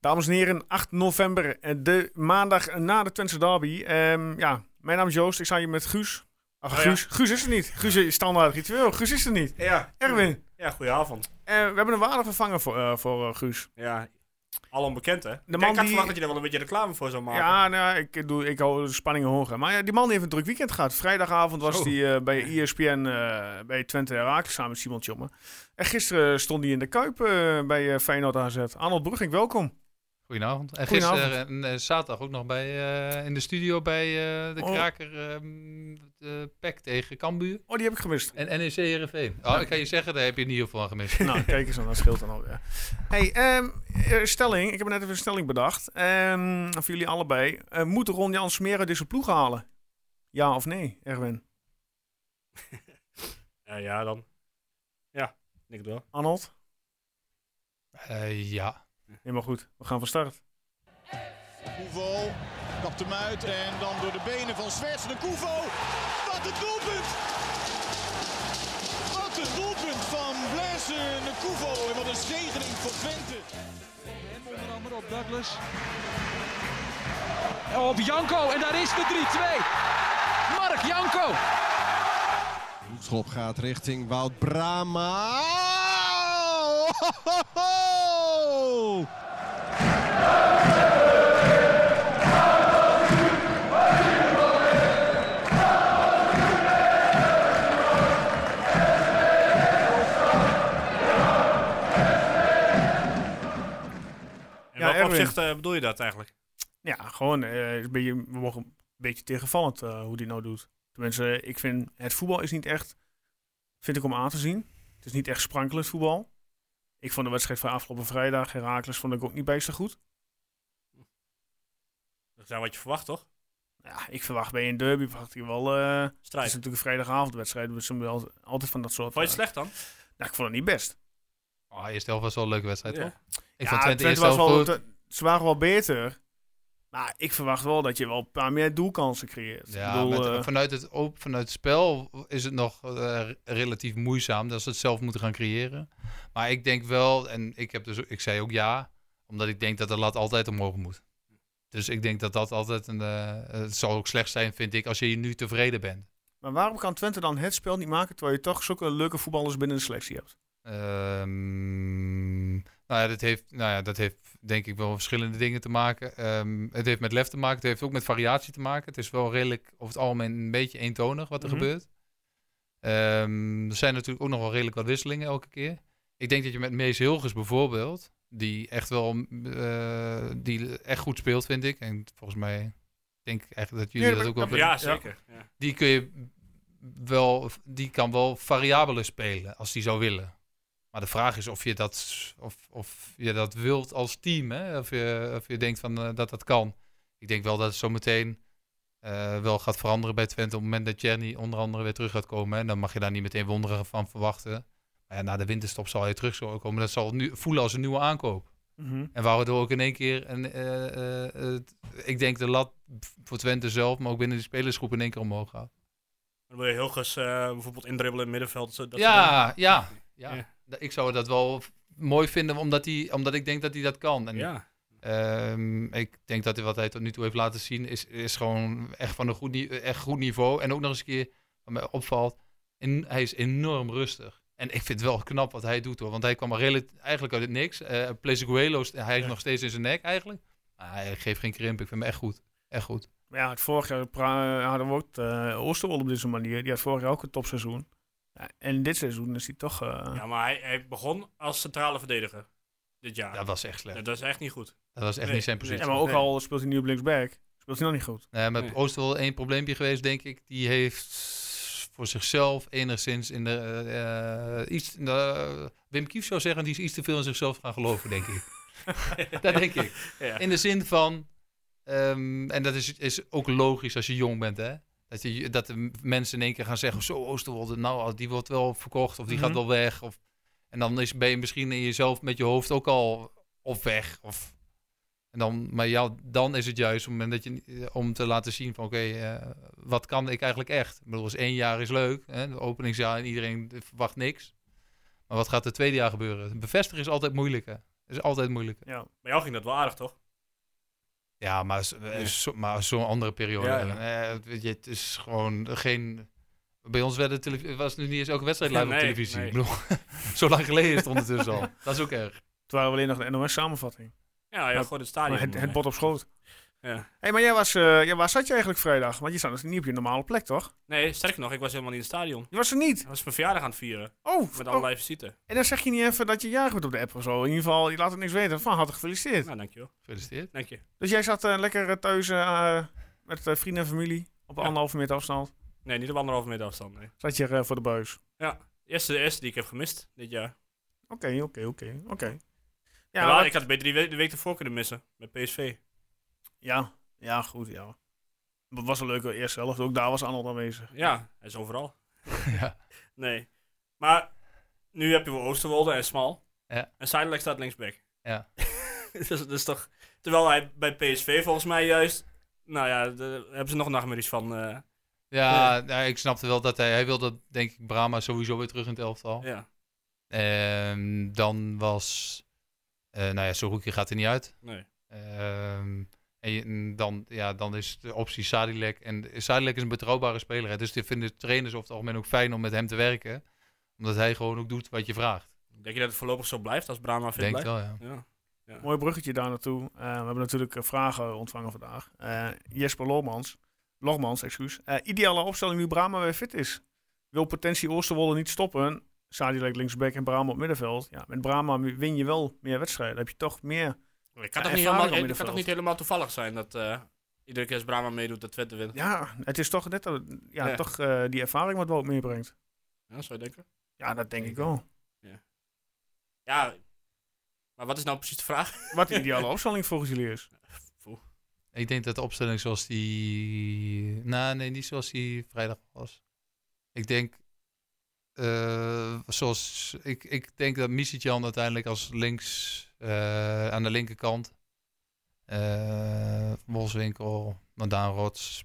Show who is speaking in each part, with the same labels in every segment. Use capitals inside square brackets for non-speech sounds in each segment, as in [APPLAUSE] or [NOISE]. Speaker 1: Dames en heren, 8 november, eh, de maandag na de Twentse derby. Ehm, ja, mijn naam is Joost, ik sta hier met Guus. Ach,
Speaker 2: Oh,
Speaker 1: Guus. Guus is er niet. Guus is standaard ritueel. Guus is er niet.
Speaker 2: Ja,
Speaker 1: Erwin,
Speaker 2: ja goedenavond.
Speaker 1: eh, we hebben een waarde vervangen voor, eh, voor eh, Guus.
Speaker 2: Ja, al onbekend hè? Kijk,
Speaker 1: man
Speaker 2: ik had
Speaker 1: die-
Speaker 2: verwacht dat je er wel een beetje reclame voor zou maken.
Speaker 1: Ja, nou, ik, ik doe, ik hou de spanning hoog. hè. Maar ja, die man heeft een druk weekend gehad. Vrijdagavond was
Speaker 2: Zo.
Speaker 1: hij eh, bij ESPN eh, bij Twente Herakles samen met Simon Tjomme. En gisteren stond hij in de Kuip eh, bij eh, Feyenoord AZ. Arnold Brugink, welkom.
Speaker 3: Goedenavond. En
Speaker 1: Goedenavond.
Speaker 3: gisteren en eh, zaterdag ook nog bij, eh, in de studio bij eh, de
Speaker 1: Oh.
Speaker 3: kraker ehm de PEC tegen Cambuur.
Speaker 1: Oh, die heb ik gemist.
Speaker 3: En NEC RV. Oh, ik kan je zeggen, daar heb je in ieder geval van gemist.
Speaker 1: [LAUGHS] nou, kijk eens aan, dat scheelt dan alweer. Hey, ehm, eh, stelling. Ik heb net even een stelling bedacht. Ehm voor jullie allebei. Eh, moet Ron Jan Smeren deze ploeg halen? Ja of nee, Erwin?
Speaker 2: Ja, ja, dan. Ja, ik het wel.
Speaker 1: Arnold?
Speaker 3: Eh, ja.
Speaker 1: Helemaal goed. We gaan van start.
Speaker 4: Koevo kapt hem uit en dan door de benen van Zwerts de Koevo. Wat een doelpunt! Wat een doelpunt van Blaise de Koevo en wat een zegening voor Twente.
Speaker 5: En onder andere op Douglas. Op Janko en daar is de 3-2. Mark Janko.
Speaker 4: Hoekschop gaat richting Wout Brama. [LAUGHS]
Speaker 2: In
Speaker 1: Ja,
Speaker 2: welk
Speaker 1: Erwin.
Speaker 2: opzicht eh, bedoel je dat eigenlijk?
Speaker 1: Ja, gewoon eh, is een beetje, we mogen een beetje tegenvallend eh, hoe die nou doet. Tenminste, eh, ik vind het voetbal is niet echt, vind ik om aan te zien. Het is niet echt sprankelend voetbal. Ik vond de wedstrijd van afgelopen vrijdag, Herakles, vond ik ook niet bijster goed.
Speaker 2: Dat is nou wat je verwacht toch?
Speaker 1: Ja, ik verwacht bij een derby, verwacht ik wel. eh, het
Speaker 2: Strijd.
Speaker 1: is natuurlijk een vrijdagavondwedstrijd, dus we wel altijd van dat soort.
Speaker 2: Nou, Vond je het
Speaker 1: eh,
Speaker 2: slecht dan?
Speaker 1: nou, ik vond het niet best.
Speaker 3: Oh, eerste helft was wel een leuke wedstrijd,
Speaker 2: Ja.
Speaker 3: toch? Ik
Speaker 1: Ja,
Speaker 3: vond Twente, eerst
Speaker 1: was
Speaker 3: helft
Speaker 1: wel,
Speaker 3: goed.
Speaker 1: te- ze waren wel beter. Maar ik verwacht wel dat je wel een paar meer doelkansen creëert.
Speaker 3: Ja,
Speaker 1: ik bedoel,
Speaker 3: met-
Speaker 1: eh,
Speaker 3: vanuit, het, op, vanuit het spel is het nog eh, relatief moeizaam dat ze het zelf moeten gaan creëren. Maar ik denk wel, en ik, heb dus, ik zei ook ja, omdat ik denk dat de lat altijd omhoog moet. Dus ik denk dat dat altijd een. eh, het zal ook slecht zijn, vind ik, als je hier nu tevreden bent.
Speaker 1: Maar waarom kan Twente dan het spel niet maken terwijl je toch zulke leuke voetballers binnen de selectie hebt?
Speaker 3: Ehm, nou, ja, dat heeft, nou ja, dat heeft denk ik wel verschillende dingen te maken. Ehm, het heeft met lef te maken, het heeft ook met variatie te maken. Het is wel redelijk over het algemeen een beetje eentonig wat er
Speaker 1: Mhm.
Speaker 3: gebeurt. Ehm, er zijn natuurlijk ook nog wel redelijk wat wisselingen elke keer. Ik denk dat je met Mees Hilgers bijvoorbeeld, die echt wel eh, die echt goed speelt, vind ik. En volgens mij denk ik echt dat jullie
Speaker 1: Nee,
Speaker 3: dat
Speaker 1: dat-
Speaker 3: ook wel
Speaker 1: dat-
Speaker 3: vinden
Speaker 2: Ja, zeker. Ja.
Speaker 3: die kun je wel, die kan wel variabeler spelen als die zou willen. Maar de vraag is of je dat, of, of je dat wilt als team, hè? Of, je, of je denkt van, eh, dat dat kan. Ik denk wel dat het zometeen eh, wel gaat veranderen bij Twente op het moment dat Jenny onder andere weer terug gaat komen. En dan mag je daar niet meteen wonderen van verwachten. Maar ja, na de winterstop zal hij terug zo komen. Dat zal nu voelen als een nieuwe aankoop.
Speaker 1: Mhm.
Speaker 3: En waardoor ook in één keer, een, eh, eh, eh, ik denk de lat voor Twente zelf, maar ook binnen de spelersgroep in één keer omhoog gaat.
Speaker 2: Dan wil je heel ges eh, bijvoorbeeld indribbelen in het middenveld. zo- Dat soort
Speaker 3: ja, ja, ja,
Speaker 2: Ja.
Speaker 3: Da- Ik zou dat wel f- mooi vinden, omdat, hij, omdat ik denk dat hij dat kan. En,
Speaker 2: dingen. Ja.
Speaker 3: ehm, ik denk dat hij wat hij tot nu toe heeft laten zien, is, is gewoon echt van een goed, ni- echt goed niveau. En ook nog eens een keer, wat mij opvalt, en hij is enorm rustig. En ik vind het wel knap wat hij doet hoor. Want hij kwam er redelijk- eigenlijk uit het niks. Eh Plezeguelo, st- hij heeft
Speaker 2: Ja.
Speaker 3: nog steeds in zijn nek eigenlijk. Maar hij geeft geen krimp. Ik vind hem echt goed. Echt goed.
Speaker 1: Maar Ja, het vorig jaar pra- hadden we ook eh, Oosterwolde op deze manier. Die had vorig jaar ook een topseizoen. Ja, en dit seizoen is hij toch... eh,
Speaker 2: ja, maar hij, hij begon als centrale verdediger dit jaar.
Speaker 3: Dat was echt slecht.
Speaker 2: Ja, dat is echt niet goed.
Speaker 3: Dat was echt
Speaker 2: Nee,
Speaker 3: niet zijn
Speaker 2: nee.
Speaker 3: positie.
Speaker 1: ja, maar ook
Speaker 2: Nee.
Speaker 1: al speelt hij nu op linksback, speelt hij nog niet goed.
Speaker 3: Nee, maar
Speaker 2: Nee.
Speaker 3: Oost wel één probleempje geweest, denk ik. Die heeft voor zichzelf enigszins in de. eh, eh, iets, eh, Wim Kief zou zeggen, die is iets te veel in zichzelf gaan geloven, denk ik. [LAUGHS] dat denk ik.
Speaker 2: Ja.
Speaker 3: In de zin van. ehm, en dat is, is ook logisch als je jong bent, hè? Dat, je, dat de m- mensen in één keer gaan zeggen: Zo, Oosterwolde, nou, die wordt wel verkocht of die
Speaker 1: Mhm.
Speaker 3: gaat wel weg. Of, en dan is, ben je misschien in jezelf met je hoofd ook al of weg. Of en dan, maar ja, dan is het juist om, dat je, niet- eh, om te laten zien van oké, eh, wat kan ik eigenlijk echt? Ik bedoel, als één jaar is leuk, hè, de openingsjaar en iedereen verwacht niks. Maar wat gaat het tweede jaar gebeuren? Bevestigen is altijd moeilijker. is altijd moeilijk.
Speaker 1: Ja.
Speaker 2: Bij jou ging dat wel aardig, toch?
Speaker 3: Ja, maar, s- eh,
Speaker 2: Ja.
Speaker 3: zo- maar zo'n andere periode.
Speaker 2: Ja, ja.
Speaker 3: Ellen. Eh, weet je, het is gewoon geen... Bij ons werd de televi- was nu niet eens elke wedstrijd live
Speaker 2: Nee,
Speaker 3: op televisie.
Speaker 2: nee.
Speaker 3: Ik bedoel, [LAUGHS] zo lang geleden is het ondertussen al. Dat is ook erg.
Speaker 1: Toen waren we alleen nog de NOS-samenvatting.
Speaker 2: Ja, ja
Speaker 1: Maar-
Speaker 2: gewoon het stadion. eh.
Speaker 1: Het, het bot op schoot.
Speaker 2: Ja.
Speaker 1: hey, maar jij was, eh, ja, waar zat je eigenlijk vrijdag? Want je zat dus niet op je normale plek, toch?
Speaker 2: Nee, sterker nog, ik was helemaal niet in het stadion.
Speaker 1: Je was er niet.
Speaker 2: Ik was mijn verjaardag aan het vieren.
Speaker 1: Oh,
Speaker 2: Met
Speaker 1: oh,
Speaker 2: allerlei visite.
Speaker 1: en dan zeg je niet even dat je jarig bent op de app of zo. In ieder geval, je laat het niks weten. Van, harte gefeliciteerd.
Speaker 2: Nou, dankjewel.
Speaker 3: Gefeliciteerd.
Speaker 2: Dank je.
Speaker 1: Dus jij zat eh, lekker eh, thuis eh, met eh, vrienden en familie op
Speaker 2: Ja.
Speaker 1: anderhalve meter afstand.
Speaker 2: Nee, niet op anderhalve meter afstand, nee.
Speaker 1: Zat je er eh, voor de buis.
Speaker 2: De eerste, de eerste die ik heb gemist dit jaar.
Speaker 1: Oké, oké, oké, oké.
Speaker 2: Ja,
Speaker 1: Ja, maar-
Speaker 2: ik had het beter die week, de week ervoor kunnen missen. Met PSV.
Speaker 1: ja, ja, goed, ja. Het was een leuke eerste helft. Ook daar was Arnold aanwezig.
Speaker 2: Ja, hij is overal.
Speaker 3: [LAUGHS] ja.
Speaker 2: Nee. Maar nu heb je wel Oosterwolde en Smal.
Speaker 3: Ja.
Speaker 2: En Zijdelijk staat linksback.
Speaker 3: Ja.
Speaker 2: [LAUGHS] dus, dat is toch... Terwijl hij bij PSV volgens mij juist... Nou ja, daar hebben ze nog nachtmerries van. eh,
Speaker 3: Ja, nou, ik snapte wel dat hij... Hij wilde, denk ik, Brahma sowieso weer terug in het elftal.
Speaker 2: ja.
Speaker 3: Ehm, dan was... eh nou ja, Sorouki gaat er niet uit.
Speaker 2: Nee.
Speaker 3: Ehm, en je- en dan, ja, dan is de optie Sadilek. En Sadilek is een betrouwbare speler. Hè? Dus dit vinden trainers over het algemeen ook fijn om met hem te werken. Omdat hij gewoon ook doet wat je vraagt.
Speaker 2: Denk je dat het voorlopig zo blijft als Brahma
Speaker 3: Ik
Speaker 2: fit
Speaker 3: denk het
Speaker 2: blijft?
Speaker 3: wel, ja.
Speaker 2: Ja.
Speaker 1: Mooi bruggetje daar naartoe. Eh, we hebben natuurlijk eh, vragen ontvangen vandaag. Eh, Jesper Logmans, Logmans excuus. Eh, ideale opstelling nu Brahma weer fit is. Wil potentie Oosterwolde niet stoppen. Sadilek linksback en Brahma op middenveld. Ja, met Brahma win je wel meer wedstrijden. Dan heb je toch meer...
Speaker 2: Het kan, toch
Speaker 1: ervaring al
Speaker 2: niet helemaal, het kan
Speaker 1: middenveld.
Speaker 2: toch niet helemaal toevallig zijn dat eh, iedere keer als Brahma meedoet dat Twente wint?
Speaker 1: Ja, het is toch net dat- ja,
Speaker 2: Ja.
Speaker 1: Toch, eh, die ervaring wat Wout meebrengt.
Speaker 2: Ja, zou je denken?
Speaker 1: Ja, dat denk ik wel.
Speaker 2: Ja, maar wat is nou precies de vraag? [LAUGHS]
Speaker 1: Wat de ideale opstelling volgens jullie is. Nou,
Speaker 3: Ik denk dat de opstelling zoals die... Nou, nee, niet zoals die vrijdag was. Ik denk... eh, zoals, ik, ik denk dat Misitjan uiteindelijk als links... eh, aan de linkerkant... eh Wolfswinkel, Mandaan Rots...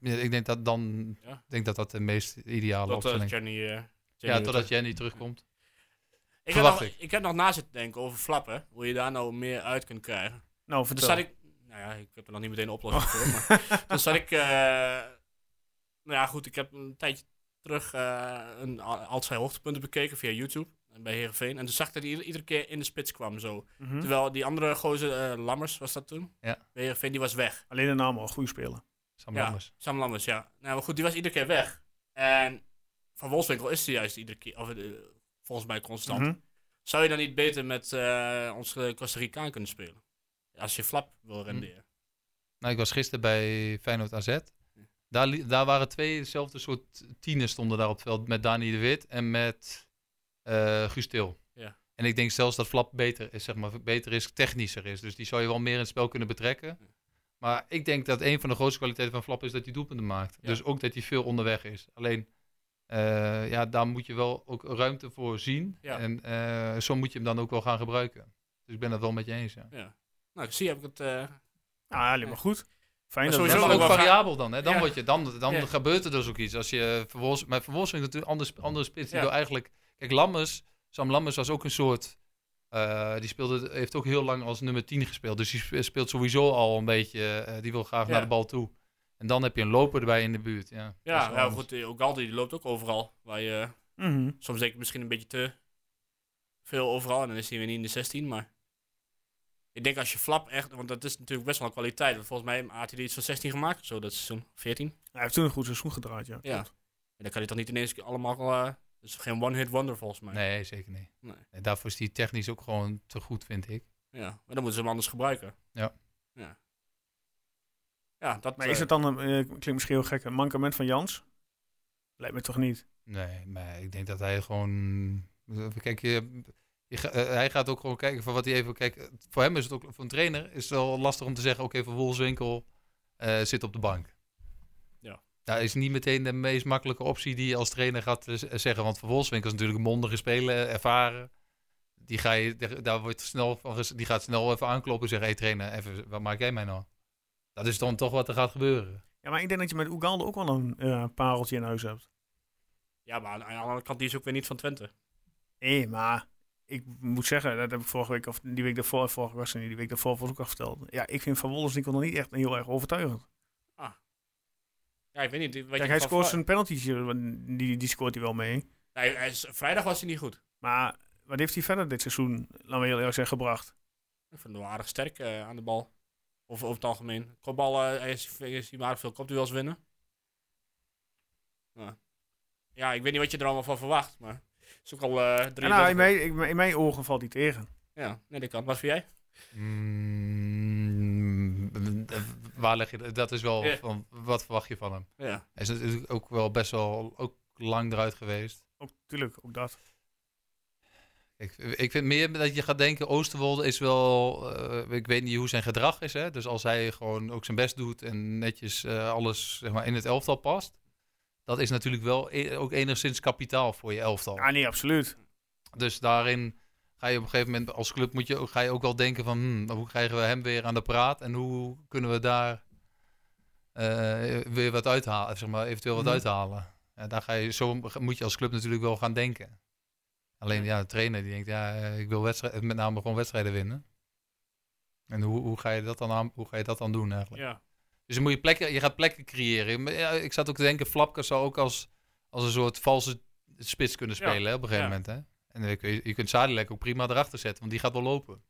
Speaker 3: Ja, Ik denk dat dan...
Speaker 2: Ja.
Speaker 3: ik denk dat dat de meest ideale
Speaker 2: Tot
Speaker 3: opstelling
Speaker 2: Jenny,
Speaker 3: is.
Speaker 2: eh, Jenny
Speaker 3: Ja,
Speaker 2: weer
Speaker 3: totdat
Speaker 2: terug-
Speaker 3: Jenny terugkomt.
Speaker 2: ik heb,
Speaker 3: verwacht
Speaker 2: nog,
Speaker 3: ik.
Speaker 2: ik. heb nog na zitten denken over flappen, hoe je daar nou meer uit kunt krijgen.
Speaker 1: Nou,
Speaker 2: Toen
Speaker 1: vertel.
Speaker 2: zat ik, nou ja, ik heb er nog niet meteen een oplossing voor, maar toen zat ik, eh, nou ja goed, ik heb een tijdje terug eh, een, al al zijn hoogtepunten bekeken via YouTube en bij Heerenveen. En toen zag ik dat hij ieder- iedere keer in de spits kwam zo.
Speaker 1: Mhm.
Speaker 2: Terwijl die andere gozer, eh, Lammers was dat toen,
Speaker 3: Ja.
Speaker 2: bij Heerenveen, die was weg.
Speaker 1: Alleen de naam al, goede spelen.
Speaker 3: Sam
Speaker 2: Ja.
Speaker 3: Lammers.
Speaker 2: Sam Lammers, ja. Nou, maar goed, die was iedere keer weg. En van Wolfswinkel is hij juist iedere keer, of, eh, volgens mij constant.
Speaker 1: Mhm.
Speaker 2: Zou je dan niet beter met eh, onze Costa Ricaan kunnen spelen? Als je flap
Speaker 3: Mhm.
Speaker 2: wil renderen.
Speaker 3: Nou, ik was gisteren bij Feyenoord AZ. Daar, li- daar waren twee dezelfde soort tienen stonden daar op het veld. Met Dani de Wit en met eh Guus Til.
Speaker 2: Ja.
Speaker 3: En ik denk zelfs dat Flap beter is, zeg maar, beter is, technischer is. Dus die zou je wel meer in het spel kunnen betrekken. Maar ik denk dat een van de grootste kwaliteiten van Flap is dat hij doelpunten maakt.
Speaker 2: Ja.
Speaker 3: Dus ook dat hij veel onderweg is. Alleen, eh, ja, daar moet je wel ook ruimte voor zien.
Speaker 2: Ja.
Speaker 3: En eh, zo moet je hem dan ook wel gaan gebruiken. Dus ik ben dat wel met je eens. Ja.
Speaker 2: Nou, ik zie, heb ik het... eh,
Speaker 1: Nou, alleen maar goed. Fijn
Speaker 2: Maar
Speaker 1: dat
Speaker 2: sowieso
Speaker 1: dat-
Speaker 3: Ja, maar
Speaker 2: ook
Speaker 3: ook
Speaker 2: wel
Speaker 3: variabel dan, hè? Dan,
Speaker 2: Ja.
Speaker 3: word je, dan, dan
Speaker 2: Ja.
Speaker 3: gebeurt er dus ook iets. Als je verwolst, maar verwolst natuurlijk een andere, sp- andere spits. Die
Speaker 2: Ja.
Speaker 3: wil eigenlijk. Kijk, Lammers, Sam Lammers was ook een soort. eh, die speelde, heeft ook heel lang als nummer 10 gespeeld. Dus die sp- speelt sowieso al een beetje. eh, die wil graag
Speaker 2: Ja.
Speaker 3: naar de bal toe. En dan heb je een loper erbij in de buurt. Ja, dat is
Speaker 2: ja,
Speaker 3: wel
Speaker 2: nou
Speaker 3: anders.
Speaker 2: goed, eh, Ugalde die loopt ook overal. Waar je, eh,
Speaker 1: Mhm.
Speaker 2: soms denk ik misschien een beetje te veel overal. En dan is hij weer niet in de 16, maar... Ik denk als je flap echt... Want dat is natuurlijk best wel een kwaliteit. Want volgens mij had hij er iets van 16 gemaakt of zo dat seizoen. 14?
Speaker 1: Hij heeft toen een goed seizoen gedraaid, ja.
Speaker 2: Ja.
Speaker 1: Klopt.
Speaker 2: En dan kan hij toch niet ineens allemaal... eh, dat is geen one-hit wonder volgens mij.
Speaker 3: Nee, zeker niet.
Speaker 2: Nee.
Speaker 3: Nee, daarvoor is die technisch ook gewoon te goed, vind ik.
Speaker 2: Ja, maar dan moeten ze hem anders gebruiken.
Speaker 3: Ja.
Speaker 2: Ja, ja dat...
Speaker 1: Maar
Speaker 2: eh,
Speaker 1: is het dan, een, eh, klinkt misschien heel gek, een mankement van Jans? Lijkt me toch niet.
Speaker 3: Nee, maar ik denk dat hij gewoon. eh, Kijk, je, je ga- eh, hij gaat ook gewoon kijken van wat hij even. Kijk, voor hem is het ook. Voor een trainer is het wel lastig om te zeggen: oké, van Wolfswinkel eh, zit op de bank.
Speaker 2: Ja.
Speaker 3: Dat is niet meteen de meest makkelijke optie die je als trainer gaat eh, z- zeggen. Want van Wolfswinkel is natuurlijk een mondige speler, ervaren. Die, ga je, daar- daar wordt snel van, ges- die gaat snel even aankloppen en zeggen: hé hey, trainer, even, wat maak jij mij nou? Dat is dan toch wat er gaat gebeuren.
Speaker 1: Ja, maar ik denk dat je met Ugalde ook wel een eh, pareltje in huis hebt.
Speaker 2: Ja, maar aan de andere kant, die is ook weer niet van Twente.
Speaker 1: Nee, maar ik moet zeggen, dat heb ik vorige week, of die week daarvoor, vorige week was het niet, die week daarvoor was ook al verteld. Ja, ik vind Van Wolfswinkel nog niet echt heel erg overtuigend.
Speaker 2: Ja, ik weet niet. Wat je
Speaker 1: Kijk, hij
Speaker 2: van
Speaker 1: scoort
Speaker 2: vri-
Speaker 1: zijn penalties, eh, want die, die scoort hij wel mee.
Speaker 2: Nee, hij is- vrijdag was hij niet goed.
Speaker 1: Maar wat heeft hij verder dit seizoen, laten we heel eerlijk zeggen, gebracht?
Speaker 2: Ik vond hem wel aardig sterk eh, aan de bal. Of over het algemeen. Kopballen eh, is, is hij maar veel kopduels winnen. Ja. ja, ik weet niet wat je er allemaal van verwacht, maar het is ook al eh drie.
Speaker 1: En nou, in, mijn, ik- in mijn ogen valt hij tegen.
Speaker 2: Ja, nee, dat kan. Wat vind jij?
Speaker 3: Mm, eh, waar leg je dat? Dat is wel
Speaker 2: Ja.
Speaker 3: van wat verwacht je van hem?
Speaker 2: Ja.
Speaker 3: Hij is natuurlijk ook wel best wel ook lang eruit geweest.
Speaker 1: Ook, tuurlijk, ook dat.
Speaker 3: Ik, ik vind meer dat je gaat denken, Oosterwolde is wel, eh, ik weet niet hoe zijn gedrag is. Hè? Dus als hij gewoon ook zijn best doet en netjes eh, alles zeg maar, in het elftal past. Dat is natuurlijk wel e- ook enigszins kapitaal voor je
Speaker 2: Oh.
Speaker 3: elftal.
Speaker 1: Ah nee, absoluut.
Speaker 3: Dus daarin ga je op een gegeven moment als club moet je, ook- ga je ook wel denken van hmm, hoe krijgen we hem weer aan de praat en hoe kunnen we daar eh, weer wat uithalen, zeg maar, eventueel wat
Speaker 1: Mhm.
Speaker 3: uithalen. Ja, daar ga je, zo moet je als club natuurlijk wel gaan denken. Alleen ja, de trainer die denkt, ja, eh, ik wil wedstrijden, met name gewoon wedstrijden winnen. En hoe, hoe, ga je dat dan aan, hoe ga je dat dan doen eigenlijk?
Speaker 2: ja.
Speaker 3: Dus dan moet je, plekken, je gaat plekken creëren. Maar ja, ik zat ook te denken, Flapke zou ook als, als een soort valse spits kunnen
Speaker 2: Ja,
Speaker 3: spelen hè, op een gegeven
Speaker 2: ja.
Speaker 3: moment. Hè? En dan kun je, je kunt Zadilek ook prima erachter zetten, want die gaat wel lopen.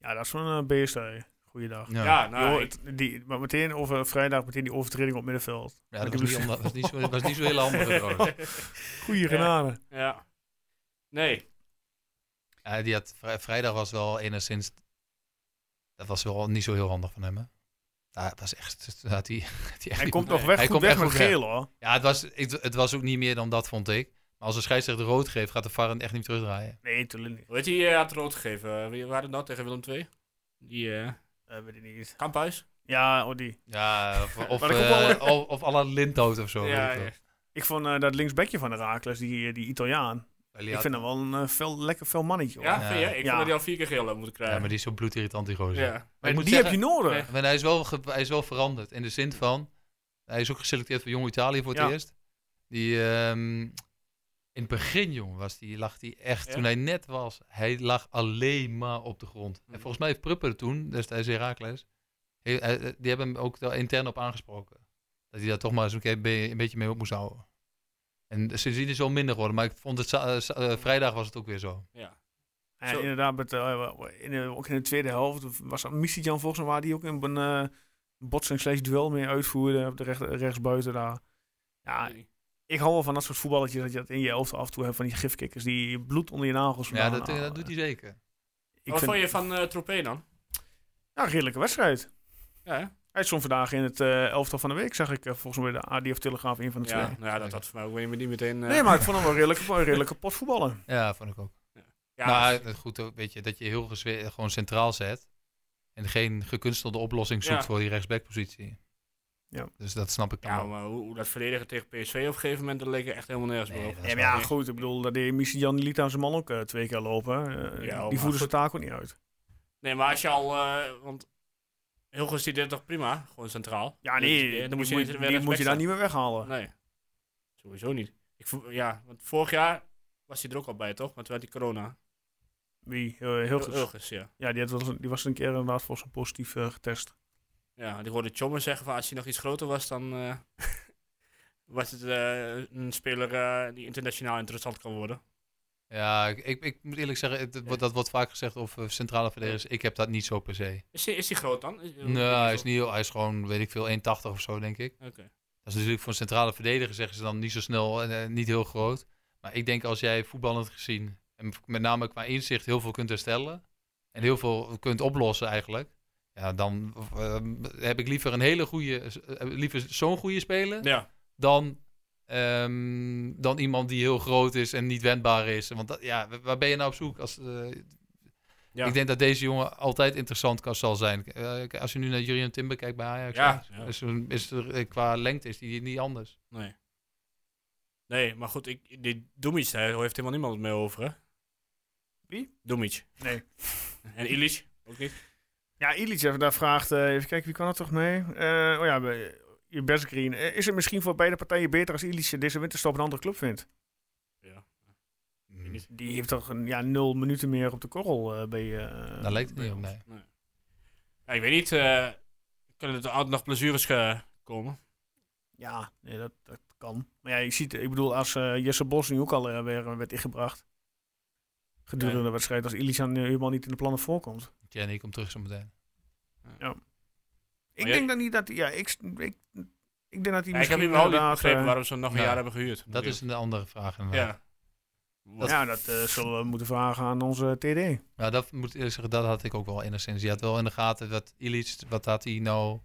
Speaker 1: Ja, dat is wel een beest. hè. Goeiedag.
Speaker 3: Ja,
Speaker 2: Ja,
Speaker 3: ja,
Speaker 2: nou,
Speaker 1: Joh,
Speaker 2: ik-
Speaker 1: het- die, maar meteen over vrijdag, meteen die overtreding op middenveld. [LAUGHS]
Speaker 3: dat
Speaker 1: ik
Speaker 3: was
Speaker 1: heb-
Speaker 3: niet, onder- was niet, zo, was niet zo heel handig.
Speaker 1: [LAUGHS]
Speaker 3: trouwens.
Speaker 1: Goeie genade.
Speaker 2: ja. Nee.
Speaker 3: Ja, die had, vrij- vrijdag was wel enigszins... Dat was wel niet zo heel handig van hem, hè? Ja, het was echt... dat Had die, die echt
Speaker 1: Hij
Speaker 3: niet-
Speaker 1: komt nog
Speaker 2: nee,
Speaker 1: weg,
Speaker 3: hij
Speaker 1: goed
Speaker 3: komt
Speaker 1: weg
Speaker 3: echt
Speaker 1: met
Speaker 3: goed weg.
Speaker 1: geel hoor.
Speaker 3: ja, het was, het, het was ook niet meer dan dat, vond ik. Maar als een scheidsrechter rood geeft, gaat de VAR hem echt niet terugdraaien.
Speaker 1: Nee, tuurlijk niet.
Speaker 2: Weet je, je had rood gegeven. Eh, Wie waren dat tegen Willem II? Die eh
Speaker 1: Eh, weet ik niet.
Speaker 2: Kamphuis?
Speaker 1: Ja, oh, die.
Speaker 3: Ja, of, of,
Speaker 1: Maar dat komt wel-
Speaker 3: eh, of, of à la Lindhout of zo. weet ik veel.
Speaker 2: ja.
Speaker 1: Ik vond eh, dat linksbekje van Herakles, die, die Italiaan.
Speaker 3: Elliot.
Speaker 1: Ik vind hem wel een eh, fel, lekker fel mannetje hoor.
Speaker 2: Ja,
Speaker 3: Ja.
Speaker 2: vind je? Ik
Speaker 1: Ja.
Speaker 2: vond dat hij al vier keer geel had moeten
Speaker 3: Ja, maar
Speaker 2: krijgen.
Speaker 3: die is zo bloedirritant, die gozer.
Speaker 2: Ja.
Speaker 3: Maar
Speaker 1: eh,
Speaker 3: ik moet
Speaker 1: die
Speaker 3: zeggen,
Speaker 1: heb je nodig.
Speaker 2: Nee.
Speaker 3: maar hij, is wel ge- hij is wel veranderd. In de zin van, hij is ook geselecteerd voor Jong Italië voor het
Speaker 1: Ja.
Speaker 3: eerst. Die, ehm, in het begin, jongen, was die, lag hij echt,
Speaker 2: Ja?
Speaker 3: toen hij net was, hij lag alleen maar op de grond.
Speaker 2: Hm.
Speaker 1: Mm.
Speaker 3: En volgens mij heeft Prupper toen, destijds Herakles, eh, die hebben hem ook daar intern op aangesproken. Dat hij daar toch maar eens een, keer be- een beetje mee op moest houden. En sindsdien is het wel minder geworden, maar ik vond het za- eh, za- eh, vrijdag was het ook weer zo.
Speaker 2: Ja.
Speaker 1: En
Speaker 2: Zo.
Speaker 1: inderdaad, met, eh, in de- ook in de tweede helft was dat Jan volgens mij waar die ook een, een eh, botsing slash duel mee uitvoerde op de recht, rechtsbuiten daar. Ja, ik hou wel van dat soort voetballetjes dat je dat in je elftal af en toe hebt van die gifkikkers die bloed onder je nagels
Speaker 3: Ja,
Speaker 1: vandaan
Speaker 3: dat, eh,
Speaker 1: halen.
Speaker 3: dat doet hij zeker.
Speaker 1: Ik
Speaker 2: Wat
Speaker 1: vind-
Speaker 2: vond je van eh Troepé dan?
Speaker 1: Ja, redelijke wedstrijd.
Speaker 2: Ja, hè?
Speaker 1: Hij stond vandaag in het eh, elftal van de week, zag ik eh, volgens mij bij de AD of Telegraaf een van de
Speaker 2: ja,
Speaker 1: twee.
Speaker 2: nou ja, dat had voor mij ook weer niet meteen... eh,
Speaker 1: Nee, maar ik vond hem wel redelijk, wel redelijke potvoetballen.
Speaker 3: Ja, vond ik ook.
Speaker 2: ja,
Speaker 3: maar het- goed, ook, weet je, Nou, dat je heel gezwe- gewoon centraal zet. En geen gekunstelde oplossing zoekt
Speaker 2: Ja.
Speaker 3: voor die rechtsbackpositie.
Speaker 1: Ja.
Speaker 3: Dus dat snap ik dan
Speaker 2: ja,
Speaker 3: wel.
Speaker 2: maar hoe, hoe dat verdedigen tegen PSV op een gegeven moment, dat leek er echt helemaal nergens meer
Speaker 3: Nee,
Speaker 2: op.
Speaker 3: dat
Speaker 1: Ja,
Speaker 3: is
Speaker 1: maar
Speaker 3: waar.
Speaker 1: ja, goed. Ik bedoel, dat deed Jan liet aan zijn man ook eh, twee keer lopen. Eh,
Speaker 2: Ja,
Speaker 1: die
Speaker 2: maar
Speaker 1: voerde
Speaker 2: goed.
Speaker 1: zijn taak ook niet uit.
Speaker 2: Nee, maar als je al... eh want Hilgers die deed toch prima? Gewoon centraal.
Speaker 1: Ja,
Speaker 2: Dus, eh,
Speaker 1: nee,
Speaker 2: dan moet je,
Speaker 1: die, die
Speaker 2: niet weer
Speaker 1: moet je
Speaker 2: rechtsback
Speaker 1: daar niet meer weghalen.
Speaker 2: staan. Nee, sowieso niet. Ik vo- ja, want vorig jaar was hij er ook al bij, toch? Want toen had hij corona.
Speaker 1: Wie? Eh, heel goed.
Speaker 2: Hilgers, ja.
Speaker 1: Ja, die, had wel eens- die was een keer inderdaad volgens mij positief eh, getest.
Speaker 2: Ja, want ik hoorde Chommer zeggen van als hij nog iets groter was, dan eh, [LAUGHS] was het eh, een speler eh, die internationaal interessant kan worden.
Speaker 3: Ja, ik, ik, ik moet eerlijk zeggen, het, wordt- dat wordt vaak gezegd over centrale verdedigers. Ik heb dat niet zo per se.
Speaker 2: Is hij, is hij groot dan? Is-
Speaker 3: Nee, hij is, niet, heel- hij is gewoon, weet ik veel, 1,80 of zo, denk ik.
Speaker 2: Oké.
Speaker 3: Dat is natuurlijk voor een centrale verdediger, zeggen ze dan, niet zo snel en eh, niet heel groot. Maar ik denk als jij voetballend gezien, en met name qua inzicht, heel veel kunt herstellen. En heel veel kunt oplossen eigenlijk. Ja, dan eh, heb ik liever een hele goede, eh, liever zo'n goede speler
Speaker 2: Ja,
Speaker 3: dan, ehm, dan iemand die heel groot is en niet wendbaar is. Want dat, ja, wa- waar ben je nou op zoek? Als, eh,
Speaker 2: Ja.
Speaker 3: Ik denk dat deze jongen altijd interessant kan, zal zijn. Eh, k- als je nu naar Jurian Timber kijkt bij Ajax,
Speaker 2: Ja,
Speaker 3: hè,
Speaker 2: ja.
Speaker 3: Is, er- is er, eh, qua lengte is die niet anders.
Speaker 2: nee. Nee, maar goed, ik, die Dumic, daar heeft helemaal niemand het mee over, hè?
Speaker 1: Wie?
Speaker 2: Dumic.
Speaker 1: Nee.
Speaker 2: [LAUGHS] En Illich, ook niet?
Speaker 1: Ja, Illich, daar vraagt, eh, even kijken, wie kan er toch mee? Eh, oh ja, bij- je best green. Eh, is het misschien voor beide partijen beter als Illich deze winterstop een andere club vindt?
Speaker 2: Ja.
Speaker 3: Mm.
Speaker 1: Die heeft toch een, ja, nul minuten meer op de korrel eh, bij... eh,
Speaker 3: Daar leek het
Speaker 1: bij
Speaker 3: niet op,
Speaker 1: ons.
Speaker 3: nee.
Speaker 2: Ja, ik weet niet, eh, kunnen er altijd nog blessures eh, komen?
Speaker 1: Ja, nee, dat, dat kan. Maar ja, je ziet, ik bedoel, als eh, Jesse Bos nu ook al eh, weer eh, werd ingebracht. Gedurende
Speaker 2: Ja.
Speaker 1: de wedstrijd, als Ilisan eh, helemaal niet in de plannen voorkomt.
Speaker 3: Jenny komt terug zo meteen.
Speaker 1: Ik
Speaker 2: jij-
Speaker 1: denk dat niet dat hij, ja, ik, ik, ik denk dat hij
Speaker 2: Ja, ik heb
Speaker 1: misschien
Speaker 2: niet wel niet
Speaker 1: inderdaad,
Speaker 2: begrepen
Speaker 1: eh,
Speaker 2: waarom ze nog een
Speaker 3: nou,
Speaker 2: jaar hebben gehuurd.
Speaker 3: Dat is een andere vraag. inderdaad.
Speaker 2: Ja.
Speaker 1: Ja, dat eh, zullen we moeten vragen aan onze TD.
Speaker 3: Nou, dat moet ik eerlijk zeggen, dat had ik ook wel enigszins. Je had wel in de gaten dat Illich, wat had hij nou...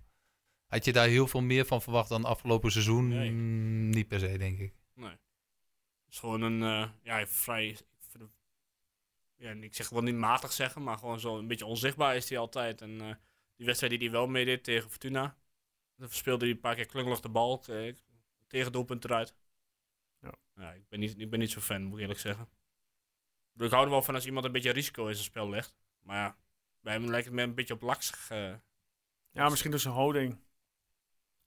Speaker 3: Had je daar heel veel meer van verwacht dan afgelopen seizoen?
Speaker 2: Nee.
Speaker 3: Mm, Niet per se, denk ik.
Speaker 2: Het is gewoon een eh, ja, vrij. Ja, en ik zeg wel niet matig zeggen, maar gewoon zo een beetje onzichtbaar is hij altijd. En eh, die wedstrijd die hij wel meedeed tegen Fortuna, dan verspeelde hij een paar keer klungelig de bal. eh, Tegen doelpunt eruit.
Speaker 1: Ja.
Speaker 2: ik, ben niet, ik ben niet zo fan, moet ik eerlijk zeggen. Ik bedoel, Ik hou er wel van als iemand een beetje risico in zijn spel legt. Maar ja, bij hem lijkt het me een beetje op laksig. eh,
Speaker 1: Ja, misschien dus een houding.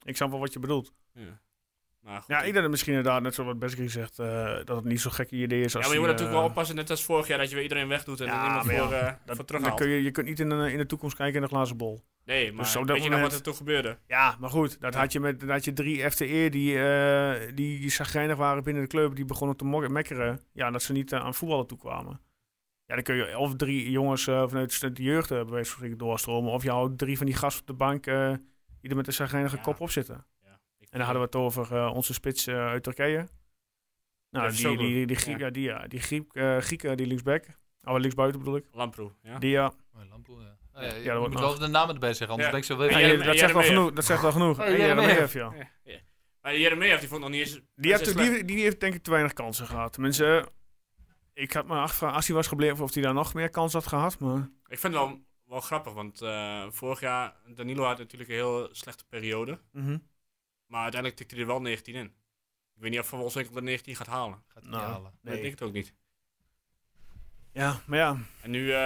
Speaker 1: Ik snap wel wat je bedoelt.
Speaker 2: ja. Maar goed,
Speaker 1: Ja, ik
Speaker 2: ik-
Speaker 1: denk dat misschien inderdaad, net zoals wat Bessie zegt, eh, dat het niet zo'n gek idee is.
Speaker 2: ja,
Speaker 1: Als
Speaker 2: maar je moet
Speaker 1: die,
Speaker 2: natuurlijk
Speaker 1: eh,
Speaker 2: wel oppassen, net als vorig jaar, dat je weer iedereen wegdoet en
Speaker 1: Ja,
Speaker 2: er niemand
Speaker 1: maar ja,
Speaker 2: voor, eh
Speaker 1: dat-
Speaker 2: voor
Speaker 1: dan
Speaker 2: terughaalt.
Speaker 1: kun je, je kunt niet in, een- in de toekomst kijken in een glazen bol.
Speaker 2: Nee, maar
Speaker 1: Dus op dat
Speaker 2: weet je nog
Speaker 1: moment-
Speaker 2: wat er toen gebeurde?
Speaker 1: Ja, maar goed, dat had je met dat had je drie FTE die, eh die zagrijnig waren binnen de club, die begonnen te mok- mekkeren. Ja, dat ze niet eh, aan voetballen toekwamen. Ja, dan kun je of drie jongens eh, vanuit de jeugd eh, bij wijze van spreken doorstromen, of je houdt drie van die gasten op de bank eh, die er met een zagrijnige
Speaker 2: Ja.
Speaker 1: kop op zitten.
Speaker 2: Ja,
Speaker 1: En dan hadden we het over eh, onze spits eh, uit Turkije. Nou,
Speaker 2: Dat is
Speaker 1: die, die,
Speaker 2: ook
Speaker 1: die,
Speaker 2: goed,
Speaker 1: Griek,
Speaker 2: ja.
Speaker 1: ja. die, ja, die Griek, eh, Griek, eh, die linksback. Oh, linksbuiten bedoel ik.
Speaker 2: Lamproe, ja.
Speaker 1: Die, eh, ja.
Speaker 3: Oh, Lampoe, ja.
Speaker 2: Ja,
Speaker 3: je
Speaker 1: dat wordt
Speaker 3: moet
Speaker 1: nog.
Speaker 3: wel de namen erbij zeggen, anders
Speaker 2: Ja.
Speaker 3: ben ik zo wel
Speaker 2: En [LAUGHS]
Speaker 1: Ah,
Speaker 3: even-
Speaker 1: je-
Speaker 2: Jerem-
Speaker 1: dat, zegt wel
Speaker 2: Jeremejeff.
Speaker 1: genoeg, dat zegt wel genoeg.
Speaker 3: Oh,
Speaker 1: En
Speaker 3: Jeremejeff.
Speaker 1: Jeremejeff, ja.
Speaker 2: Ja, ja. Maar Jeremia, die vond nog niet eens...
Speaker 1: Die, heeft,
Speaker 2: is
Speaker 1: die, die heeft denk ik te weinig kansen gehad. Tenminste, eh, ik had me afgevraagd als hij was gebleven of hij daar nog meer kans had gehad. Maar
Speaker 2: Ik vind het wel, wel grappig, want eh, vorig jaar, Danilo had natuurlijk een heel slechte periode.
Speaker 1: mhm.
Speaker 2: Maar uiteindelijk tikte hij er wel 19 in. Ik weet niet of Van Wolfswinkel er 19 gaat halen.
Speaker 3: Gaat
Speaker 1: Nou.
Speaker 3: hij halen.
Speaker 2: Dat denk ik
Speaker 1: nee.
Speaker 2: het ook niet.
Speaker 1: Ja, maar ja.
Speaker 2: En nu, eh,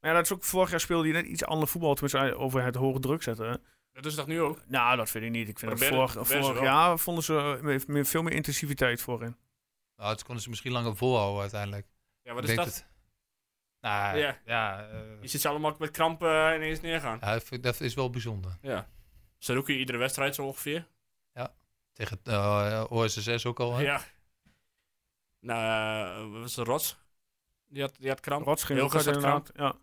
Speaker 1: Maar ja, dat is ook vorig jaar speelde hij net iets ander voetbal. Tenminste, eh, over het hoge druk zetten.
Speaker 2: dat is dat nu ook.
Speaker 1: Nou, dat vind ik niet. Ik vind
Speaker 2: Maar
Speaker 1: dat
Speaker 2: Berre-
Speaker 1: vorig,
Speaker 2: Berre is
Speaker 1: vorig
Speaker 2: wel-
Speaker 1: jaar vonden ze eh, meer- meer- veel meer intensiviteit voorin.
Speaker 3: Nou, het konden ze misschien langer volhouden uiteindelijk.
Speaker 2: Ja, wat
Speaker 3: Ik
Speaker 2: is
Speaker 3: denk
Speaker 2: dat?
Speaker 3: het. Nou,
Speaker 2: Ja.
Speaker 3: ja. Ja, eh,
Speaker 2: Je ziet ze allemaal met krampen eh, ineens neergaan.
Speaker 3: ja, ik vind- dat is wel bijzonder.
Speaker 2: Ja. Saruki iedere wedstrijd zo ongeveer.
Speaker 3: Tegen eh OSSS ook al. Hè?
Speaker 2: Ja. Nou, eh, wat was het Rots? Die had, die had kramp.
Speaker 1: Rots ging
Speaker 2: Heel
Speaker 1: ook uit
Speaker 2: gezet
Speaker 1: inderdaad. Ja.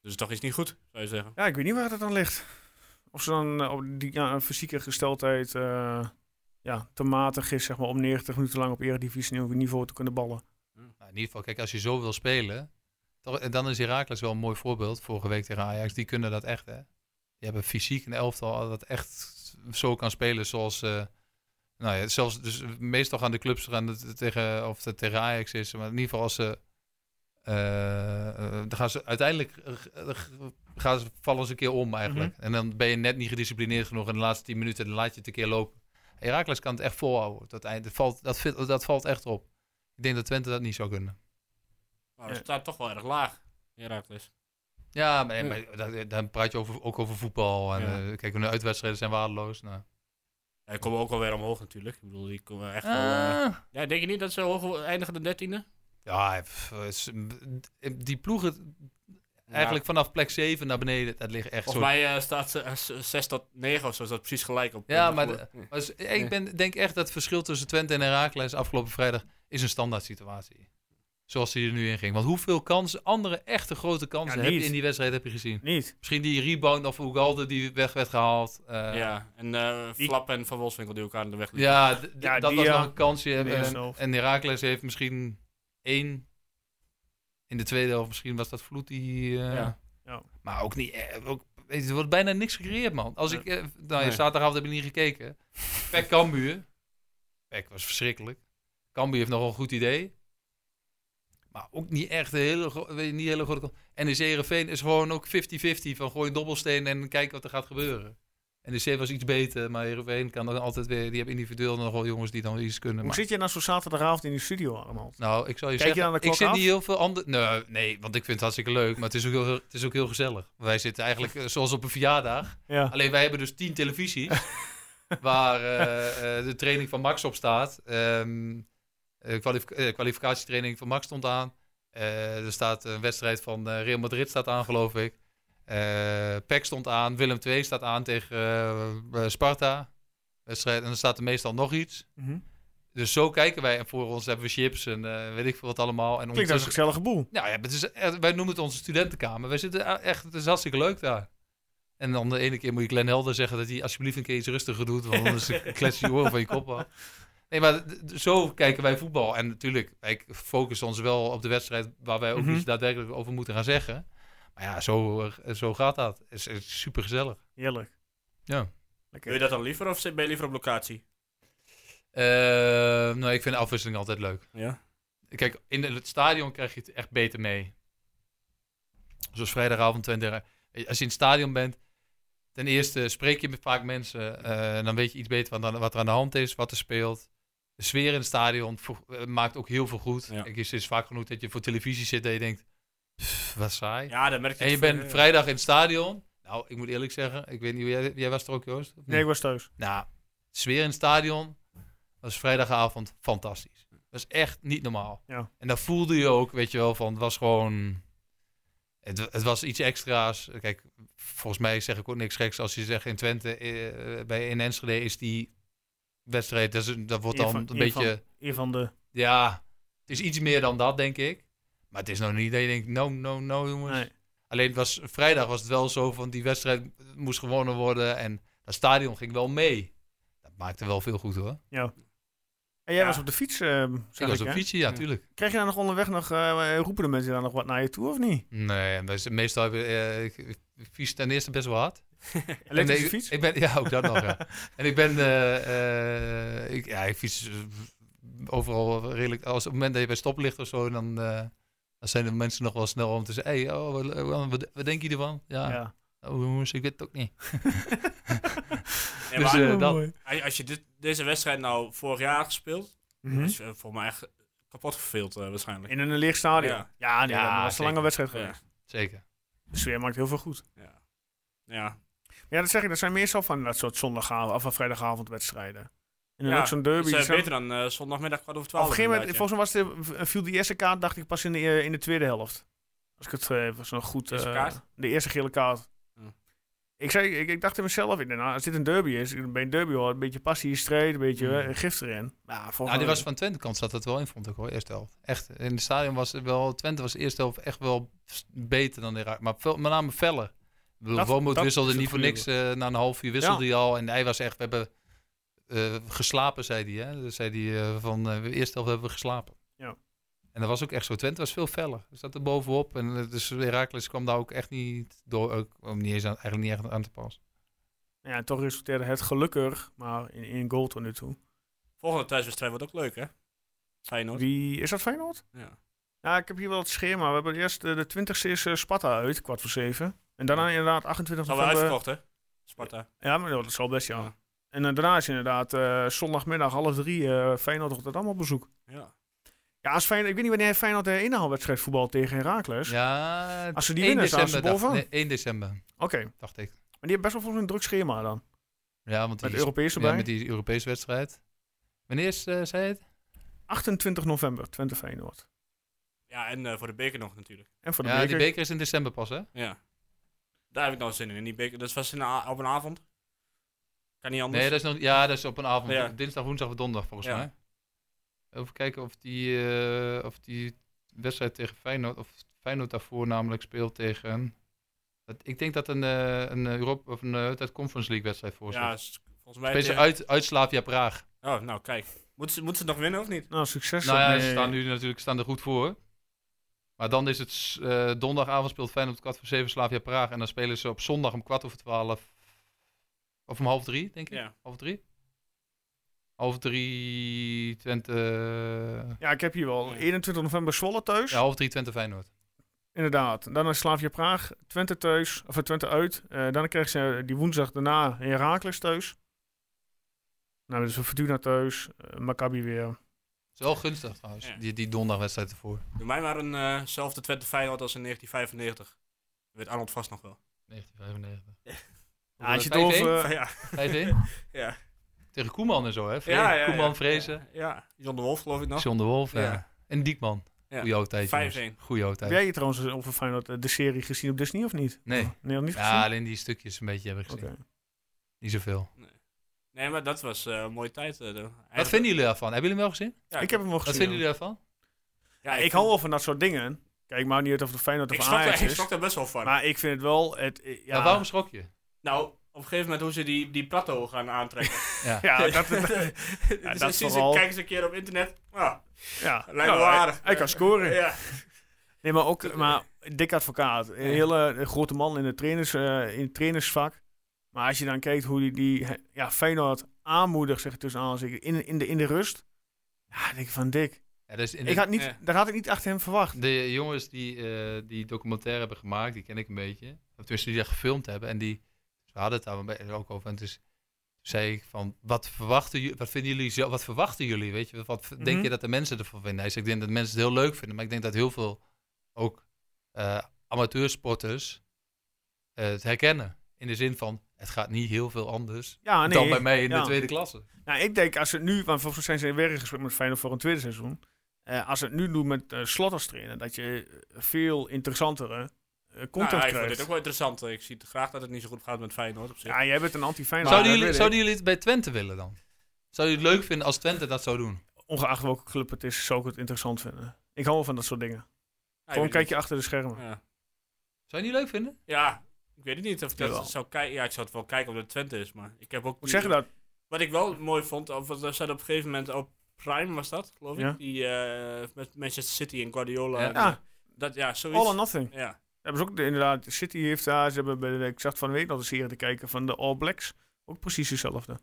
Speaker 2: Dus toch is niet goed, zou je zeggen.
Speaker 1: ja, ik weet niet waar dat aan ligt. Of ze dan eh, op die ja, een fysieke gesteldheid eh, ja, te matig is zeg maar, om 90 minuten lang op eredivisie niveau te kunnen ballen.
Speaker 3: Nou, in ieder geval, kijk, als je zo wil spelen, toch- en dan is Herakles wel een mooi voorbeeld. Vorige week tegen Ajax, die kunnen dat echt, hè. Die hebben fysiek een elftal dat echt zo kan spelen zoals... eh, nou ja, zelfs dus meestal gaan de clubs gaan het tegen, of het tegen Ajax is, maar in ieder geval als ze... eh, eh, dan gaan ze uiteindelijk eh, eh, gaan ze, vallen ze een keer om eigenlijk. En dan ben je net niet gedisciplineerd genoeg in de laatste tien minuten, dan laat je het een keer lopen. Herakles kan het echt volhouden. tot het eind. Dat valt, dat, fit- dat valt echt op. Ik denk dat Twente dat niet zou kunnen.
Speaker 2: Maar het
Speaker 1: Ja.
Speaker 2: staat toch wel erg laag, Herakles.
Speaker 3: Ja, maar,
Speaker 2: Ja.
Speaker 3: maar da- dan praat je over, ook over voetbal. En,
Speaker 2: Ja.
Speaker 3: eh, kijk, hun uitwedstrijden zijn waardeloos. Nou.
Speaker 2: Ja, die komen ook alweer omhoog natuurlijk. Ik bedoel, die komen echt wel... eh,
Speaker 3: Ah.
Speaker 2: Ja, denk je niet dat ze hoog eindigen de dertiende?
Speaker 3: Ja, eh, pff, het is- die ploegen eigenlijk vanaf plek 7 naar beneden, dat ligt echt zo.
Speaker 2: Volgens mij eh, staat ze eh, z- 6 tot 9 of zo, is dat precies gelijk op.
Speaker 3: Ja,
Speaker 2: op de
Speaker 3: maar
Speaker 2: vloer. Ja.
Speaker 3: Maar is- ik ben, denk echt dat het verschil tussen Twente en Herakles afgelopen vrijdag is een standaard situatie. Zoals die er nu in ging. Want hoeveel kansen, andere echte grote kansen,
Speaker 1: Ja,
Speaker 3: heb je
Speaker 1: niet.
Speaker 3: in die wedstrijd heb je gezien?
Speaker 1: Niet.
Speaker 3: Misschien die rebound of Ugalde die weg werd gehaald. eh,
Speaker 2: ja, en eh,
Speaker 1: Die-
Speaker 2: Flap en Van Wolfswinkel die elkaar in de weg liepen.
Speaker 3: Ja, d- d-
Speaker 1: Ja,
Speaker 3: dat
Speaker 1: die,
Speaker 3: was
Speaker 1: ja.
Speaker 3: nog een kansje. En,
Speaker 1: De eerste
Speaker 3: en,
Speaker 1: helft.
Speaker 3: en Herakles heeft misschien één. In de tweede helft misschien was dat Vloed die... eh,
Speaker 2: Ja.
Speaker 1: Ja.
Speaker 3: Maar ook niet... eh, ook, weet je, er wordt bijna niks gecreëerd, man. Als
Speaker 1: Nee.
Speaker 3: ik... eh, nou,
Speaker 2: Nee.
Speaker 3: zaterdagavond heb ik niet gekeken. Pek Cambuur. Pek was verschrikkelijk. Cambuur heeft nog wel een goed idee. Maar ook niet echt een hele, gro- weet je, niet een hele grote... NEC Heerenveen is gewoon ook 50-50 van gooi een dobbelsteen en kijken wat er gaat gebeuren. NEC was iets beter, maar Heerenveen kan dan altijd weer... Die hebben individueel nog wel jongens die dan iets kunnen.
Speaker 1: Hoe
Speaker 3: Maar,
Speaker 1: zit je nou zo zaterdagavond in die studio, Arnold?
Speaker 3: nou, ik zal je
Speaker 1: Kijk je
Speaker 3: zeggen,
Speaker 1: aan de
Speaker 3: ik
Speaker 1: klok
Speaker 3: zit
Speaker 1: af?
Speaker 3: niet heel veel ander... Nee, nee, want ik vind het hartstikke leuk, maar het is ook heel, het is ook heel gezellig. Wij zitten eigenlijk eh, zoals op een verjaardag.
Speaker 1: Ja.
Speaker 3: Alleen wij hebben dus tien
Speaker 1: [LAUGHS]
Speaker 3: televisies waar eh, eh, de training van Max op staat. Ehm, eh, Eh, kwalif- eh, kwalificatietraining van Max stond aan. Eh, er staat een wedstrijd van eh, Real Madrid staat aan, geloof ik. Eh PEC stond aan. Willem II staat aan tegen eh, eh, Sparta. Wedstrijd, en dan staat er meestal nog iets.
Speaker 1: Mhm.
Speaker 3: Dus zo kijken wij. En voor ons hebben we chips en eh, weet ik veel wat allemaal. En
Speaker 1: Klinkt als een
Speaker 3: ondertussen-
Speaker 1: gezellige boel.
Speaker 3: nou ja, maar het is, eh, wij noemen het onze studentenkamer. Wij zitten eh, echt, het is hartstikke leuk daar. En dan de ene keer moet je Glenn Helder zeggen dat hij alsjeblieft een keer iets rustiger doet, want anders klets je je oren van je kop af. Nee, maar d- d- zo kijken wij voetbal. En natuurlijk, wij focussen ons wel op de wedstrijd waar wij ook
Speaker 1: Mhm.
Speaker 3: iets daadwerkelijk over moeten gaan zeggen. Maar ja, zo, eh, zo gaat dat. Het is, het is supergezellig.
Speaker 1: Heerlijk.
Speaker 3: Ja.
Speaker 1: Lekker.
Speaker 2: Wil je dat dan liever of zit- ben je liever op locatie?
Speaker 3: Eh, nou, ik vind de afwisseling altijd leuk.
Speaker 2: Ja.
Speaker 3: Kijk, in het stadion krijg je het echt beter mee. Zoals vrijdagavond, 20. Als je in het stadion bent, ten eerste spreek je met vaak mensen. eh, en dan weet je iets beter wat, er- wat er aan de hand is, wat er speelt. De sfeer in het stadion vo- eh, maakt ook heel veel goed.
Speaker 2: Ja.
Speaker 3: Kijk, het is vaak genoeg dat je voor televisie zit en je denkt, "Pff, wat saai.
Speaker 2: Ja, eh, dan merk je
Speaker 3: en je
Speaker 2: het
Speaker 3: bent
Speaker 2: voor-
Speaker 3: vrijdag in het stadion. Nou, ik moet eerlijk zeggen, ik weet niet, hoe jij, jij was er ook Joost? of
Speaker 1: Nee,
Speaker 3: niet?
Speaker 1: ik was thuis.
Speaker 3: Nou, de sfeer in het stadion was vrijdagavond fantastisch. Dat is echt niet normaal.
Speaker 1: Ja.
Speaker 3: En dat voelde je ook, weet je wel, van het was gewoon... Het, het was iets extra's. Kijk, volgens mij zeg ik ook niks geks als je zegt in Twente, eh, bij in Enschede is die wedstrijd, dat, is, een- dat wordt dan
Speaker 1: Hiervan-
Speaker 3: een
Speaker 1: hiervan-
Speaker 3: beetje...
Speaker 1: Een van de...
Speaker 3: Ja, het is iets meer dan dat, denk ik. Maar het is nou niet dat je denkt, no, no, no, jongens.
Speaker 1: Nee.
Speaker 3: Alleen het was, vrijdag was het wel zo van die wedstrijd moest gewonnen worden en dat stadion ging wel mee. Dat maakte wel veel goed hoor.
Speaker 1: En jij
Speaker 2: Ja.
Speaker 1: was op de fiets, ehm
Speaker 3: Ik
Speaker 1: zag
Speaker 3: was
Speaker 1: ik,
Speaker 3: op
Speaker 1: hè?
Speaker 3: fietsje, ja,
Speaker 2: Ja.
Speaker 3: tuurlijk.
Speaker 1: Krijg je daar nog onderweg nog... eh, roepen de mensen daar nog wat naar je toe, of niet?
Speaker 3: Nee, en dat is- meestal heb je, eh, ik, ik fiets ten eerste best wel hard. En
Speaker 1: Elektrische
Speaker 3: ik-
Speaker 1: fiets?
Speaker 3: Ik ben, ja, ook dat nog. Ja. En ik ben, eh, eh, ik, ja, ik fiets eh, overal redelijk. Als op het moment dat je bij stoplicht of zo, dan, eh, dan zijn de mensen nog wel snel om te zeggen: hey, oh, wat, wat, wat denk je ervan? Ja,
Speaker 1: Ja.
Speaker 3: Oh, jongens, ik weet het ook niet.
Speaker 2: Nee, maar
Speaker 3: Dus, eh, dat-
Speaker 2: als- Als je dit, deze wedstrijd nou vorig jaar had gespeeld,
Speaker 1: Mhm.
Speaker 2: is eh, voor mij echt kapot geveeld eh, waarschijnlijk.
Speaker 1: In een leeg stadion. Ja,
Speaker 2: Ja.
Speaker 1: nee,
Speaker 3: Ja,
Speaker 1: maar dat is een
Speaker 3: zeker.
Speaker 1: lange wedstrijd geweest.
Speaker 2: Ja.
Speaker 3: Zeker.
Speaker 1: De sfeer maakt heel veel goed.
Speaker 2: Ja. ja.
Speaker 1: Ja, dat zeg ik. Dat zijn meestal van dat soort zondagavond of van vrijdagavondwedstrijden. En dan
Speaker 2: Ja,
Speaker 1: ook zo'n derby.
Speaker 2: Dus, eh,
Speaker 1: die zijn-
Speaker 2: beter dan eh, zondagmiddag kwart over
Speaker 1: Op een
Speaker 2: twaalf.
Speaker 1: gegeven moment,
Speaker 2: inderdaad,
Speaker 1: volgens mij was de, v- viel die eerste kaart, dacht ik, pas in de, eh, in de tweede helft. Als ik het eh, was nog goed...
Speaker 2: Eerste
Speaker 1: eh,
Speaker 2: kaart? Hm.
Speaker 1: De eerste gele kaart.
Speaker 2: Ja.
Speaker 1: Ik, zei, ik, ik dacht in mezelf, ik dacht, nou, als dit een derby is, bij een derby hoor, een beetje passie, strijd, een beetje
Speaker 2: Hm.
Speaker 1: eh, gif erin. Nou, volgens
Speaker 3: Nou, die
Speaker 1: mij-
Speaker 3: was van Twente kant zat dat wel in, vond ik hoor, eerste helft. Echt, in het stadion was het wel, Twente was de eerste helft echt wel s- beter dan Irak. Maar veel, met name Veller.
Speaker 1: Dat-
Speaker 3: Womoed
Speaker 1: dat
Speaker 3: wisselde
Speaker 1: is het
Speaker 3: niet voor
Speaker 1: goede
Speaker 3: niks, eh, na een half uur wisselde hij al. En hij was echt, we hebben eh, geslapen, zei hij. Hè? Dus zei hij eh, van, eh, de eerste helft hebben we geslapen.
Speaker 1: Ja.
Speaker 3: En dat was ook echt zo. Twente was veel feller. Ze zat er bovenop. En eh, dus Herakles kwam daar ook echt niet door. Ook, om niet eens aan, eigenlijk niet echt aan te pas.
Speaker 1: Ja, en toch resulteerde het gelukkig, maar in, in goal tot nu toe.
Speaker 2: ja. Volgende thuiswedstrijd wordt ook leuk, hè? Feyenoord.
Speaker 1: Wie, is dat Feyenoord?
Speaker 2: Ja.
Speaker 1: Ja, ik heb hier wel het schema. We hebben eerst eh, de 20ste is eh, Sparta uit, kwart voor zeven. En daarna inderdaad 28
Speaker 2: Zal wel
Speaker 1: november.
Speaker 2: uitverkocht, hè? Sparta.
Speaker 1: Ja, maar dat zal best, ja.
Speaker 2: Ja.
Speaker 1: En eh, daarna is inderdaad eh, zondagmiddag half drie eh, Feyenoord Rotterdam op bezoek.
Speaker 2: Ja.
Speaker 1: Ja, als Feyenoord, ik weet niet wanneer Feyenoord de inhaalwedstrijd voetbal tegen Herakles.
Speaker 3: Ja,
Speaker 1: Dus Als ze die
Speaker 3: 1
Speaker 1: winnen, staan ze
Speaker 3: december, dacht-
Speaker 1: bovenaan.
Speaker 3: nee, 1 december,
Speaker 1: Oké,
Speaker 3: dacht ik.
Speaker 1: maar die hebben best wel volgens een druk schema dan.
Speaker 3: Ja, want die
Speaker 1: Met
Speaker 3: is-
Speaker 1: Europees
Speaker 3: Ja,
Speaker 1: erbij.
Speaker 3: met die Europese wedstrijd. Wanneer is, eh, zei je het?
Speaker 1: 28 november, Twente Feyenoord.
Speaker 2: Ja, en eh, voor de beker nog natuurlijk.
Speaker 1: En voor de
Speaker 3: ja,
Speaker 1: beker.
Speaker 3: die beker is in december pas, hè?
Speaker 2: Ja. Daar heb ik nou zin in. in die beker. Dat was in een a- op een avond. Kan niet anders.
Speaker 3: Nee, dat is nog, ja, dat is op een avond.
Speaker 2: Ja.
Speaker 3: Dinsdag, woensdag of donderdag volgens
Speaker 2: Ja.
Speaker 3: mij. Even kijken of die, eh, of die wedstrijd tegen Feyenoord, of Feyenoord daarvoor namelijk speelt tegen... dat- ik denk dat een, eh, een Europa, of een eh, uit Conference League wedstrijd voor
Speaker 2: ja,
Speaker 3: zit.
Speaker 2: is- volgens mij...
Speaker 3: Speelden ze
Speaker 2: tegen-
Speaker 3: uit, uit Slavia Praag.
Speaker 2: Oh, nou kijk. Moeten ze, moeten ze het nog winnen of niet?
Speaker 1: Nou, succes.
Speaker 3: nou ja,
Speaker 1: ermee.
Speaker 3: ze staan nu natuurlijk staan er goed voor. Maar dan is het s- eh, donderdagavond speelt Feyenoord om kwart voor zeven Slavia Praag. En dan spelen ze op zondag om kwart over twaalf. Of om half drie, denk ik.
Speaker 2: Ja.
Speaker 3: Half drie. Half drie Twente...
Speaker 1: Ja, ik heb hier wel. 21 november Zwolle thuis.
Speaker 3: Ja, half drie Twente Feyenoord.
Speaker 1: Inderdaad. Daarna Slaafje Praag, Twente thuis, of Twente uit. Eh dan krijgen ze die woensdag daarna Herakles thuis. Nou, dus Fortuna thuis, eh, Maccabi weer.
Speaker 3: is wel gunstig trouwens,
Speaker 2: Ja.
Speaker 3: die, die donderdagwedstrijd ervoor.
Speaker 2: Doe mij maar eenzelfde Twente Feyenoord als in 1995. Dat weet Arnold vast nog wel.
Speaker 3: 1995.
Speaker 1: Ja, als je het
Speaker 3: 5-1?
Speaker 1: over,
Speaker 2: [LAUGHS] ja.
Speaker 3: 5-1?
Speaker 2: ja.
Speaker 3: 2-1 Tegen Koeman en zo, hè? Vre- Koeman, Vrezen,
Speaker 2: Ja, John de Wolf geloof ik nog.
Speaker 3: John de Wolf ja.
Speaker 2: Ja.
Speaker 3: en Diekman.
Speaker 2: Ja.
Speaker 3: Goeie oudheid. jongens.
Speaker 2: 5-1.
Speaker 3: Goeie oudheid.
Speaker 1: Heb jij je trouwens over Feyenoord eh, de serie gezien op Disney of niet?
Speaker 3: Nee.
Speaker 1: Nee, nog niet
Speaker 3: Ja,
Speaker 1: gezien?
Speaker 3: alleen die stukjes een beetje heb ik gezien.
Speaker 1: Oké.
Speaker 3: Niet zoveel.
Speaker 2: Nee, maar dat was eh, een mooie tijd. eh, de- eigenlijk-
Speaker 3: Wat vinden jullie daarvan? Hebben jullie hem wel gezien?
Speaker 2: Ja,
Speaker 1: Ik heb hem wel
Speaker 3: Wat
Speaker 1: gezien.
Speaker 3: vinden
Speaker 1: ja.
Speaker 3: jullie daarvan?
Speaker 2: ja,
Speaker 1: ik hou wel van dat soort dingen. Kijk, maar niet uit of de Feyenoord
Speaker 2: Ik
Speaker 1: of
Speaker 2: schrok,
Speaker 1: Ajax
Speaker 2: daar, ik
Speaker 1: is.
Speaker 2: schrok daar best wel van.
Speaker 1: Maar ik vind het wel... Het, eh, ja,
Speaker 3: Ja, waarom schrok je?
Speaker 2: Nou, op een gegeven moment hoe ze die, die plato gaan aantrekken.
Speaker 3: Ja.
Speaker 1: Ja,
Speaker 2: [LAUGHS]
Speaker 1: dat, [LAUGHS]
Speaker 2: dus
Speaker 1: dat
Speaker 2: dan zien ze,
Speaker 1: vooral.
Speaker 2: kijk eens een keer op internet. Ah,
Speaker 1: ja.
Speaker 2: lijkt
Speaker 1: Ja,
Speaker 2: me wel
Speaker 1: Nou, hij-
Speaker 2: aardig.
Speaker 1: Hij kan scoren.
Speaker 2: ja.
Speaker 1: Nee, maar ook maar
Speaker 3: eh.
Speaker 1: dik advocaat. Een hele eh, grote man in, de trainers, eh, in het trainersvak. Maar als je dan kijkt hoe die, die eh, ja, Feyenoord aanmoedigt, zeg ik tussen aanhalingstekens, in, in, de, in de rust. Ja, dan denk ik van dik.
Speaker 3: Ja, dus in de,
Speaker 1: Ik had niet,
Speaker 2: ja.
Speaker 1: Daar had ik niet achter hem verwacht.
Speaker 3: de jongens die eh, die documentaire hebben gemaakt, die ken ik een beetje. Of Tenminste, die dat gefilmd hebben. En die ze hadden het daar wel ook over. En dus zei ik van, wat verwachten, ju- wat vinden jullie, zelf- wat verwachten jullie? Weet je, wat v- denk
Speaker 1: Mhm.
Speaker 3: je dat de mensen ervan vinden? Hij zei, ik denk dat mensen het heel leuk vinden. Maar ik denk dat heel veel ook eh, amateursporters eh, het herkennen. In de zin van, het gaat niet heel veel anders
Speaker 1: Ja, Ah, nee.
Speaker 3: dan bij mij in
Speaker 1: ja.
Speaker 3: de tweede klasse.
Speaker 1: Nou, ik denk als ze het nu, want volgens mij zijn ze weer in gesprek met Feyenoord voor een tweede seizoen. Eh, als ze het nu doen met eh Slot als trainer, dat je eh, veel interessantere eh,
Speaker 2: Nou,
Speaker 1: content
Speaker 2: ik vind
Speaker 1: krijgt.
Speaker 2: dit ook wel interessant. Eh, Ik zie graag dat het niet zo goed gaat met Feyenoord op zich.
Speaker 1: Ja, jij bent een anti-Feyenoord.
Speaker 3: Zouden
Speaker 1: dat
Speaker 3: jullie,
Speaker 1: weet ik.
Speaker 3: zouden jullie het bij Twente willen dan? Zou je het leuk vinden als Twente dat zou doen?
Speaker 1: Ongeacht welke club het is, zou ik het interessant vinden. Ik hou wel van dat soort dingen.
Speaker 2: Ja,
Speaker 1: Gewoon
Speaker 2: ik
Speaker 1: een
Speaker 2: weet
Speaker 1: kijkje achter de schermen.
Speaker 2: niet. Ja.
Speaker 3: Zou je het niet leuk vinden?
Speaker 2: Ja, ik weet het niet of ik
Speaker 1: Jawel.
Speaker 2: dat zou kijken. Ja, ik zou het wel kijken of het Twente is, maar ik heb ook...
Speaker 1: Hoe zeg je dat?
Speaker 2: Wat ik wel mooi vond, of wat- er zat op een gegeven moment op Prime, was dat, geloof ik?
Speaker 1: Ja.
Speaker 2: Die eh, met Manchester City en Guardiola.
Speaker 3: Ja.
Speaker 2: en,
Speaker 1: Ja, Ah.
Speaker 2: Dat, ja, zoiets.
Speaker 1: all or nothing.
Speaker 2: ja.
Speaker 1: Hebben ze ook de- inderdaad, City heeft daar, ze hebben bij de, ik zag van de week nog een serie te kijken van de All Blacks. Ook precies hetzelfde.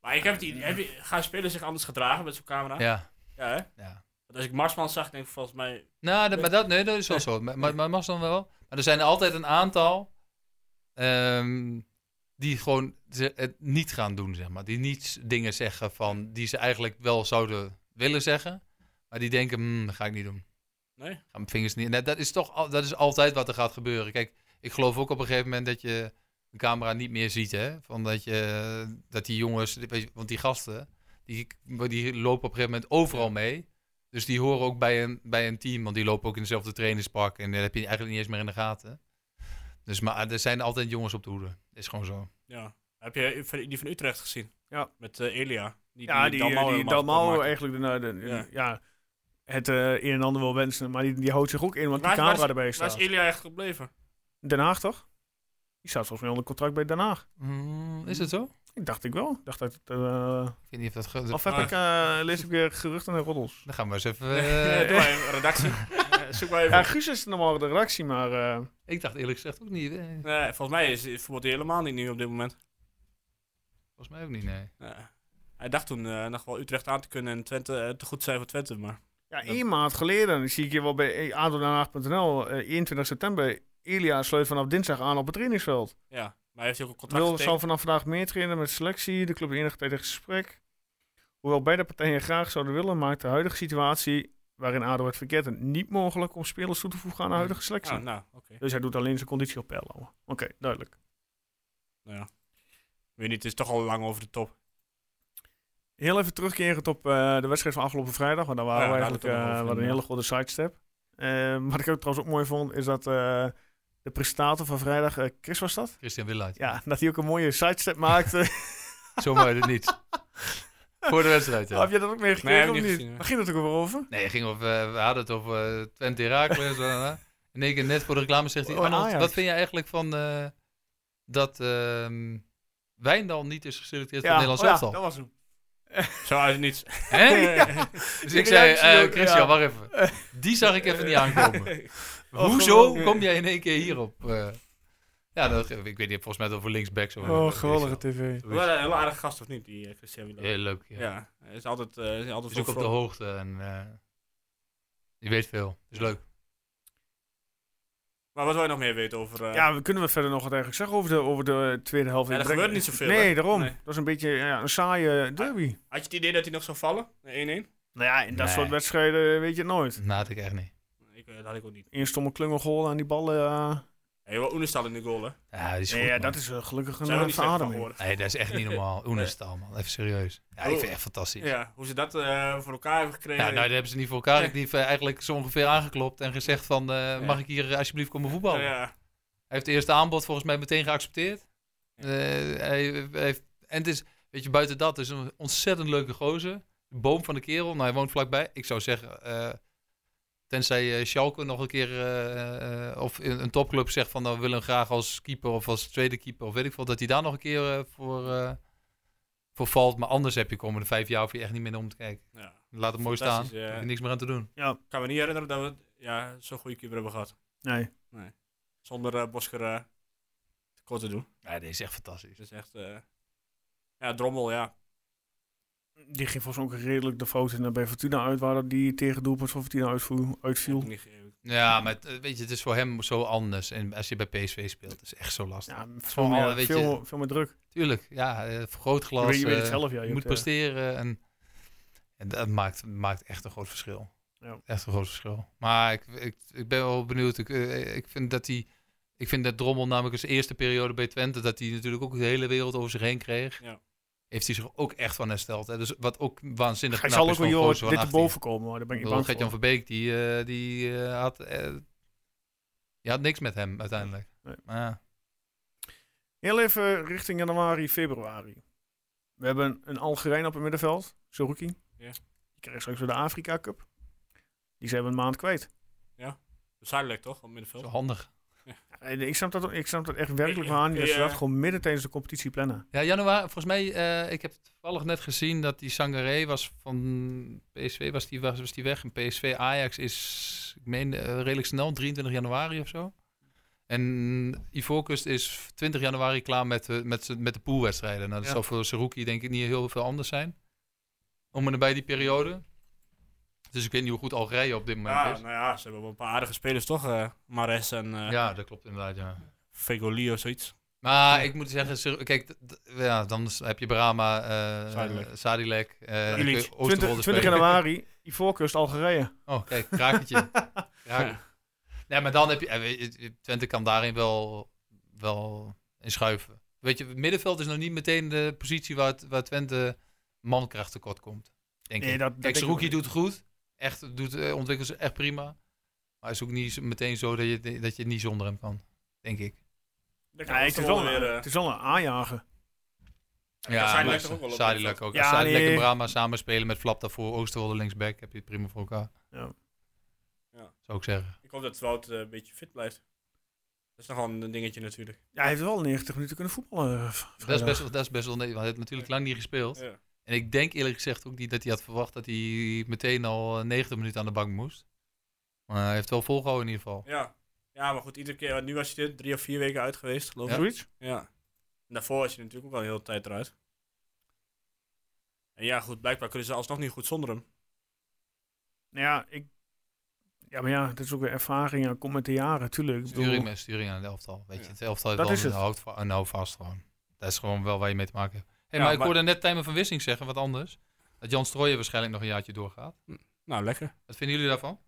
Speaker 2: Maar ik heb het idee, heb je- gaan spelers zich anders gedragen met zo'n camera?
Speaker 3: Ja.
Speaker 2: Ja, hè?
Speaker 3: Ja.
Speaker 2: Want als ik Marsman zag, denk ik volgens mij...
Speaker 3: Nou, dat, maar dat, nee, dat is wel zo. Maar, maar, maar mag dan wel. Maar er zijn er altijd een aantal ehm, die gewoon ze- het niet gaan doen, zeg maar. Die niet s- dingen zeggen van die ze eigenlijk wel zouden willen zeggen, maar die denken, "Hmm, dat ga ik niet doen.
Speaker 2: Nee.
Speaker 3: Ga mijn vingers niet. Nee, dat is toch al, dat is altijd wat er gaat gebeuren. Kijk, ik geloof ook op een gegeven moment dat je een camera niet meer ziet, hè? Van dat je dat die jongens, weet je, want die gasten, die, die lopen op een gegeven moment overal mee. Dus die horen ook bij een, bij een team, want die lopen ook in dezelfde trainingspak. En dat heb je eigenlijk niet eens meer in de gaten. Dus maar er zijn altijd jongens op de hoede. Is gewoon zo.
Speaker 2: Ja. Heb je van- die van Utrecht gezien?
Speaker 1: Ja.
Speaker 2: Met eh, Elia. Die,
Speaker 1: Ja, die,
Speaker 2: Dalmau
Speaker 1: eh, die
Speaker 2: helemaal kapot
Speaker 1: Dalmau
Speaker 2: maakte.
Speaker 1: eigenlijk, de, nou, de-
Speaker 2: Ja.
Speaker 1: ja. het eh, een en ander wil wensen, maar die, die houdt zich ook in, want die
Speaker 2: Waar- waar
Speaker 1: camera
Speaker 2: is-
Speaker 1: erbij
Speaker 2: Waar is
Speaker 1: staat.
Speaker 2: Elia echt gebleven?
Speaker 1: Den Haag toch? Die staat volgens mij onder contract bij Den Haag. Mm,
Speaker 3: is het zo?
Speaker 1: Ik dacht ik wel. Ik dacht dat, het, eh,
Speaker 3: Hm. Ik weet niet of dat... ge-
Speaker 1: of heb
Speaker 2: Ah.
Speaker 1: ik, eh, lees ik weer geruchten en roddels.
Speaker 3: Dan gaan we eens even...
Speaker 1: [LAUGHS]
Speaker 2: [LAUGHS] Eh,
Speaker 3: eh,
Speaker 2: Doe maar even, redactie. Eh, Zoek maar even.
Speaker 1: Ja, Guus is normaal de redactie, maar eh,
Speaker 3: ik dacht eerlijk gezegd ook niet. eh,
Speaker 2: Nee, volgens mij is is voetbal die helemaal niet nu op dit moment.
Speaker 3: Volgens mij ook niet, nee.
Speaker 2: Nee. Hij dacht toen eh, nog wel Utrecht aan te kunnen en Twente eh, te goed zijn voor Twente, maar...
Speaker 1: ja,
Speaker 2: Dat-
Speaker 1: één maand geleden zie ik je wel bij adodenhaag.nl, eh 21 september. Elia sluit vanaf dinsdag aan op het trainingsveld.
Speaker 2: Ja, maar hij heeft ook een contract
Speaker 1: Wil zal
Speaker 2: getekend.
Speaker 1: vanaf vandaag meer trainen met selectie. De club enige tijd in gesprek. Hoewel beide partijen graag zouden willen, maakt de huidige situatie waarin ADO het verkeerd en niet mogelijk om spelers toe te voegen aan de huidige selectie.
Speaker 2: Ah, nou, oké.
Speaker 1: Dus hij doet alleen zijn conditie op peil houden. Oké, duidelijk.
Speaker 2: Nou ja. Ik Weet niet, het is toch al lang over de top.
Speaker 1: Heel even terugkerend op eh, de wedstrijd van afgelopen vrijdag. Want daar waren
Speaker 2: Ja,
Speaker 1: we
Speaker 2: daar
Speaker 1: eigenlijk
Speaker 2: hadden
Speaker 1: eh,
Speaker 2: we het nog
Speaker 1: wat
Speaker 2: over,
Speaker 1: een hele grote sidestep. Eh, wat ik ook trouwens ook mooi vond, is dat eh, de presentator van vrijdag, eh, Chris was dat?
Speaker 3: Christian Willaert.
Speaker 1: Ja, dat hij ook een mooie sidestep
Speaker 2: [LAUGHS]
Speaker 1: maakte.
Speaker 3: Zo mooi
Speaker 1: [LAUGHS]
Speaker 3: dat niet. Voor de wedstrijd, ja.
Speaker 1: Heb je dat ook meegekregen
Speaker 2: Nee, heb ik
Speaker 1: of
Speaker 2: niet
Speaker 1: niet?
Speaker 2: gezien, nee.
Speaker 1: Waar ging het ook weer over?
Speaker 3: Nee, het ging over, eh, we hadden het over eh, Twente Heracles. eh, eh. In één keer net voor de reclame zegt hij,
Speaker 1: Oh,
Speaker 3: Arnold,
Speaker 1: Ajax.
Speaker 3: wat vind je eigenlijk van eh, dat ehm Wijndal niet is geselecteerd voor het Nederlands
Speaker 1: oh
Speaker 3: elftal?
Speaker 1: dat was hem.
Speaker 2: Zo uit het niets.
Speaker 3: [LAUGHS] Hè? Dus ik zei,
Speaker 1: reactie
Speaker 3: eh,
Speaker 1: ook,
Speaker 3: Christian,
Speaker 1: ja. Eh.
Speaker 3: wacht even. Die zag ik even niet
Speaker 1: [LAUGHS]
Speaker 3: aankomen.
Speaker 1: Oh,
Speaker 3: Hoezo
Speaker 1: geweldig.
Speaker 3: kom jij in één keer hierop? eh? ja, dat, ik weet niet, volgens mij over linksback. Zo
Speaker 1: Oh, geweldige tv.
Speaker 2: Wel een hele aardige gast, of niet, die eh, Christian Wieland?
Speaker 3: Heel leuk, ja.
Speaker 2: Ja, hij is altijd, eh, hij is altijd
Speaker 3: Is ook
Speaker 2: wel
Speaker 3: op de
Speaker 2: vrolijk.
Speaker 3: hoogte en eh, je weet veel. Is leuk.
Speaker 2: Maar wat wil je nog meer weten over... eh,
Speaker 1: Ja, we kunnen we verder nog wat eigenlijk zeggen over de, over de tweede helft?
Speaker 2: Ja, er
Speaker 1: Ik denk-
Speaker 2: gebeurt niet zoveel,
Speaker 1: Nee,
Speaker 2: hè?
Speaker 1: daarom.
Speaker 2: Nee. Ah.
Speaker 1: Dat is een beetje ja, een saaie derby.
Speaker 2: Had je het idee dat hij nog zou vallen? Een 1-1?
Speaker 1: Nou ja, in dat
Speaker 3: Nee.
Speaker 1: soort wedstrijden weet je het nooit.
Speaker 3: Dat Nou, had ik echt niet.
Speaker 2: Ik, eh, dat had ik ook niet.
Speaker 1: Eerst om een klungel aan die ballen. eh,
Speaker 2: Hey, wel Oenestal in de goal, hè?
Speaker 3: Ja, die is goed,
Speaker 1: Nee, ja,
Speaker 3: man.
Speaker 1: dat is eh, gelukkig een
Speaker 2: Zijn we
Speaker 1: eh,
Speaker 2: niet slecht van
Speaker 1: verademing.
Speaker 2: geworden.
Speaker 3: Nee, dat is echt niet
Speaker 1: [LAUGHS]
Speaker 3: normaal. Oenestal, man. Even serieus. Ja,
Speaker 1: Oh.
Speaker 3: ik vind het echt fantastisch. Ja,
Speaker 2: Ja, hoe ze dat eh, voor elkaar hebben gekregen.
Speaker 3: nou, dat hebben ze niet voor elkaar. Die heeft eh, eigenlijk zo ongeveer aangeklopt en gezegd van... eh, mag ik hier alsjeblieft komen voetballen?
Speaker 2: Ja, ja.
Speaker 3: Hij heeft het eerste aanbod volgens mij meteen geaccepteerd. Eh, hij heeft, en het is, weet je, buiten dat, het is een ontzettend leuke gozer. Boom van de kerel, nou hij woont vlakbij. Ik zou zeggen, eh, tenzij eh Schalke nog een keer, eh, eh, of een, een topclub zegt van, nou we willen hem graag als keeper of als tweede keeper of weet ik veel, dat hij daar nog een keer eh, voor, eh, voor valt. Maar anders heb je komende vijf jaar of je echt niet meer om te kijken.
Speaker 2: Ja.
Speaker 3: Laat het mooi staan,
Speaker 2: Fantastisch, ja.
Speaker 3: heb je niks meer aan te doen.
Speaker 1: Ja,
Speaker 2: Ik kan me niet herinneren dat we ja, zo'n goede keeper hebben gehad.
Speaker 1: nee.
Speaker 2: Zonder eh Bosker eh, tekort te doen.
Speaker 3: Ja, dit is echt fantastisch.
Speaker 2: Het is echt... eh, ja, Drommel, ja.
Speaker 1: Die ging volgens mij ook redelijk de fout in eh, bij Fortuna uit, waar dat die tegen doelpunt van Fortuna uitvoer-
Speaker 2: Heb
Speaker 1: uitviel.
Speaker 2: ik niet ge-
Speaker 3: Ja, maar het, eh, weet je, het is voor hem zo anders. En als je bij PSV speelt, het is echt zo lastig.
Speaker 1: Ja, veel,
Speaker 3: Vooral,
Speaker 1: meer,
Speaker 3: weet
Speaker 1: veel,
Speaker 3: je-
Speaker 1: meer- veel meer druk.
Speaker 3: Tuurlijk, ja, eh, vergrootglas.
Speaker 1: je, weet, je weet het
Speaker 3: eh,
Speaker 1: zelf, ja.
Speaker 3: je moet
Speaker 1: hebt, eh,
Speaker 3: presteren en, en dat maakt, maakt echt een groot verschil.
Speaker 1: Ja.
Speaker 3: Echt een groot verschil. Maar ik, ik, ik ben wel benieuwd. Ik, eh, ik vind dat hij, ik vind dat Drommel namelijk als eerste periode bij Twente, dat hij natuurlijk ook de hele wereld over zich heen kreeg.
Speaker 2: Ja.
Speaker 3: Heeft hij zich ook echt van hersteld. Hè? Dus wat ook waanzinnig
Speaker 1: Hij
Speaker 3: knap
Speaker 1: zal ook
Speaker 3: is van
Speaker 1: wel
Speaker 3: een gozer
Speaker 1: joh,
Speaker 3: van
Speaker 1: dit
Speaker 3: 18.
Speaker 1: erboven komen, hoor. daar ben
Speaker 3: Ik
Speaker 1: ik
Speaker 3: bedoel,
Speaker 1: bang
Speaker 3: Gert-Jan
Speaker 1: voor.
Speaker 3: van Beek, die, eh, die eh, had, eh, die had niks met hem uiteindelijk.
Speaker 1: Nee.
Speaker 3: Maar ja.
Speaker 1: Heel even richting januari, februari. We hebben een Algerijn op het middenveld, Zerouki.
Speaker 2: Ja.
Speaker 1: Die krijgt straks weer de Afrika Cup. Die zijn we een maand kwijt.
Speaker 2: eh, Zuidelijk, toch? Op middenveld.
Speaker 3: zo handig.
Speaker 1: Eh, Ik snap dat, ik snap dat echt werkelijk
Speaker 2: Ja,
Speaker 1: waar niet. Dat ze
Speaker 2: ja.
Speaker 1: dat gewoon midden tijdens de competitie plannen.
Speaker 3: Ja, januari, volgens mij, eh, ik heb toevallig net gezien dat die Sangaré was van PSV, was die, was, was die weg. En PSV Ajax is, ik meen, eh, redelijk snel, 23 januari of zo. En Ivoorkust is 20 januari klaar met, eh, met, z'n- met de poolwedstrijden. Nou, dat
Speaker 1: Ja.
Speaker 3: zal voor Saruki denk ik niet heel veel anders zijn. Om en nabij die periode. Dus ik weet niet hoe goed Algerije op dit moment
Speaker 2: Ja,
Speaker 3: is.
Speaker 2: nou ja, ze hebben wel een paar aardige spelers, toch? eh Mares en eh
Speaker 3: Ja, dat klopt inderdaad, ja.
Speaker 2: Fegoli of zoiets.
Speaker 3: Maar ik moet zeggen, Sir- kijk, d- d- ja, dan is- heb je Brahma, eh
Speaker 2: Zadilek.
Speaker 3: Sadilek, eh
Speaker 2: Ilic.
Speaker 3: kun je Oosterwolde
Speaker 1: 20, 20
Speaker 3: spelen.
Speaker 1: januari, Ivoorkust, Algerije.
Speaker 3: [LAUGHS] Oh, kijk,
Speaker 1: [LAUGHS]
Speaker 3: krakertje. Kraker.
Speaker 2: Ja.
Speaker 3: Nee, maar dan heb je, eh, weet je, Twente kan daarin wel, wel in schuiven. Weet je, middenveld is nog niet meteen de positie waar, het- waar Twente mankracht tekort komt. Denk
Speaker 1: Nee,
Speaker 3: ik.
Speaker 1: dat- dat
Speaker 3: kijk,
Speaker 1: denk ik
Speaker 3: Saruki
Speaker 1: ook
Speaker 3: doet het goed. Echt, doet, eh, ontwikkelt zich echt prima. Maar is ook niet zo- meteen zo dat je, dat je niet zonder hem kan, denk ik.
Speaker 1: Ja, het, eh. is wel een, het is wel een aanjager.
Speaker 2: eh,
Speaker 3: Ja, maar
Speaker 2: toch ook wel op
Speaker 3: Sadilek ook.
Speaker 1: Ja,
Speaker 3: Als Sadilek
Speaker 1: nee.
Speaker 3: en Brahma samen spelen met Flap daarvoor, Oosterwolde linksback, heb je het prima voor elkaar.
Speaker 1: Ja.
Speaker 2: Ja.
Speaker 3: Zou ik zeggen.
Speaker 2: Ik hoop dat Wout eh, een beetje fit blijft. Dat is nogal een dingetje natuurlijk.
Speaker 1: Ja, hij heeft wel 90 minuten kunnen voetballen. eh, v-
Speaker 3: Dat is
Speaker 1: vrijdag.
Speaker 3: best, wel- dat is best wel nee, want hij heeft natuurlijk lang niet gespeeld.
Speaker 2: Ja.
Speaker 3: En ik denk eerlijk gezegd ook niet dat hij had verwacht dat hij meteen al eh, 90 minuten aan de bank moest. Maar hij heeft wel volgehouden in ieder geval.
Speaker 2: Ja. ja, maar goed, iedere keer. want Nu was je er drie of vier weken uit geweest, geloof
Speaker 3: Ja.
Speaker 2: ik.
Speaker 1: Zoiets?
Speaker 2: Ja. En daarvoor was je natuurlijk ook al een hele tijd eruit. En ja, goed, blijkbaar kunnen ze alsnog niet goed zonder hem.
Speaker 1: Nou ja, ik... Ja, maar ja, dat is ook weer ervaring. Ja, komt met de jaren, tuurlijk. Ik bedoel,
Speaker 3: Sturing, met sturing aan het elftal. Weet je,
Speaker 2: Ja.
Speaker 3: het elftal heeft
Speaker 1: Dat
Speaker 3: wel
Speaker 1: is
Speaker 3: een
Speaker 1: het.
Speaker 3: houd, een houd vast gewoon. Dat is gewoon wel waar je mee te maken hebt. Hey,
Speaker 2: Ja,
Speaker 3: maar ik
Speaker 2: maar-
Speaker 3: hoorde net Tijmen van Wissing zeggen, wat anders. Dat Jan Strooijen waarschijnlijk nog een jaartje doorgaat.
Speaker 2: Nou, lekker.
Speaker 3: Wat vinden jullie daarvan?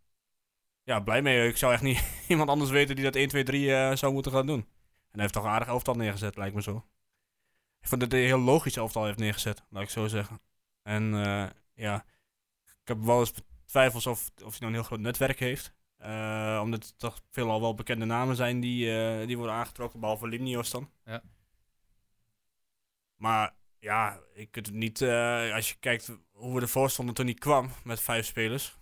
Speaker 2: Ja, blij mee. Ik zou echt niet [LAUGHS] iemand anders weten die dat 1, 2, 3 eh, zou moeten gaan doen. En hij heeft toch een aardig elftal neergezet, lijkt me zo. Ik vond dat hij een heel logisch elftal heeft neergezet, laat ik zo zeggen. En eh, ja, ik heb wel eens twijfels of, of hij nou een heel groot netwerk heeft. Eh, omdat het toch veelal wel bekende namen zijn die, eh, die worden aangetrokken, behalve Limnios dan.
Speaker 3: Ja.
Speaker 2: Maar ja, ik kunt het niet... eh, als je kijkt hoe we ervoor stonden toen hij kwam met vijf spelers.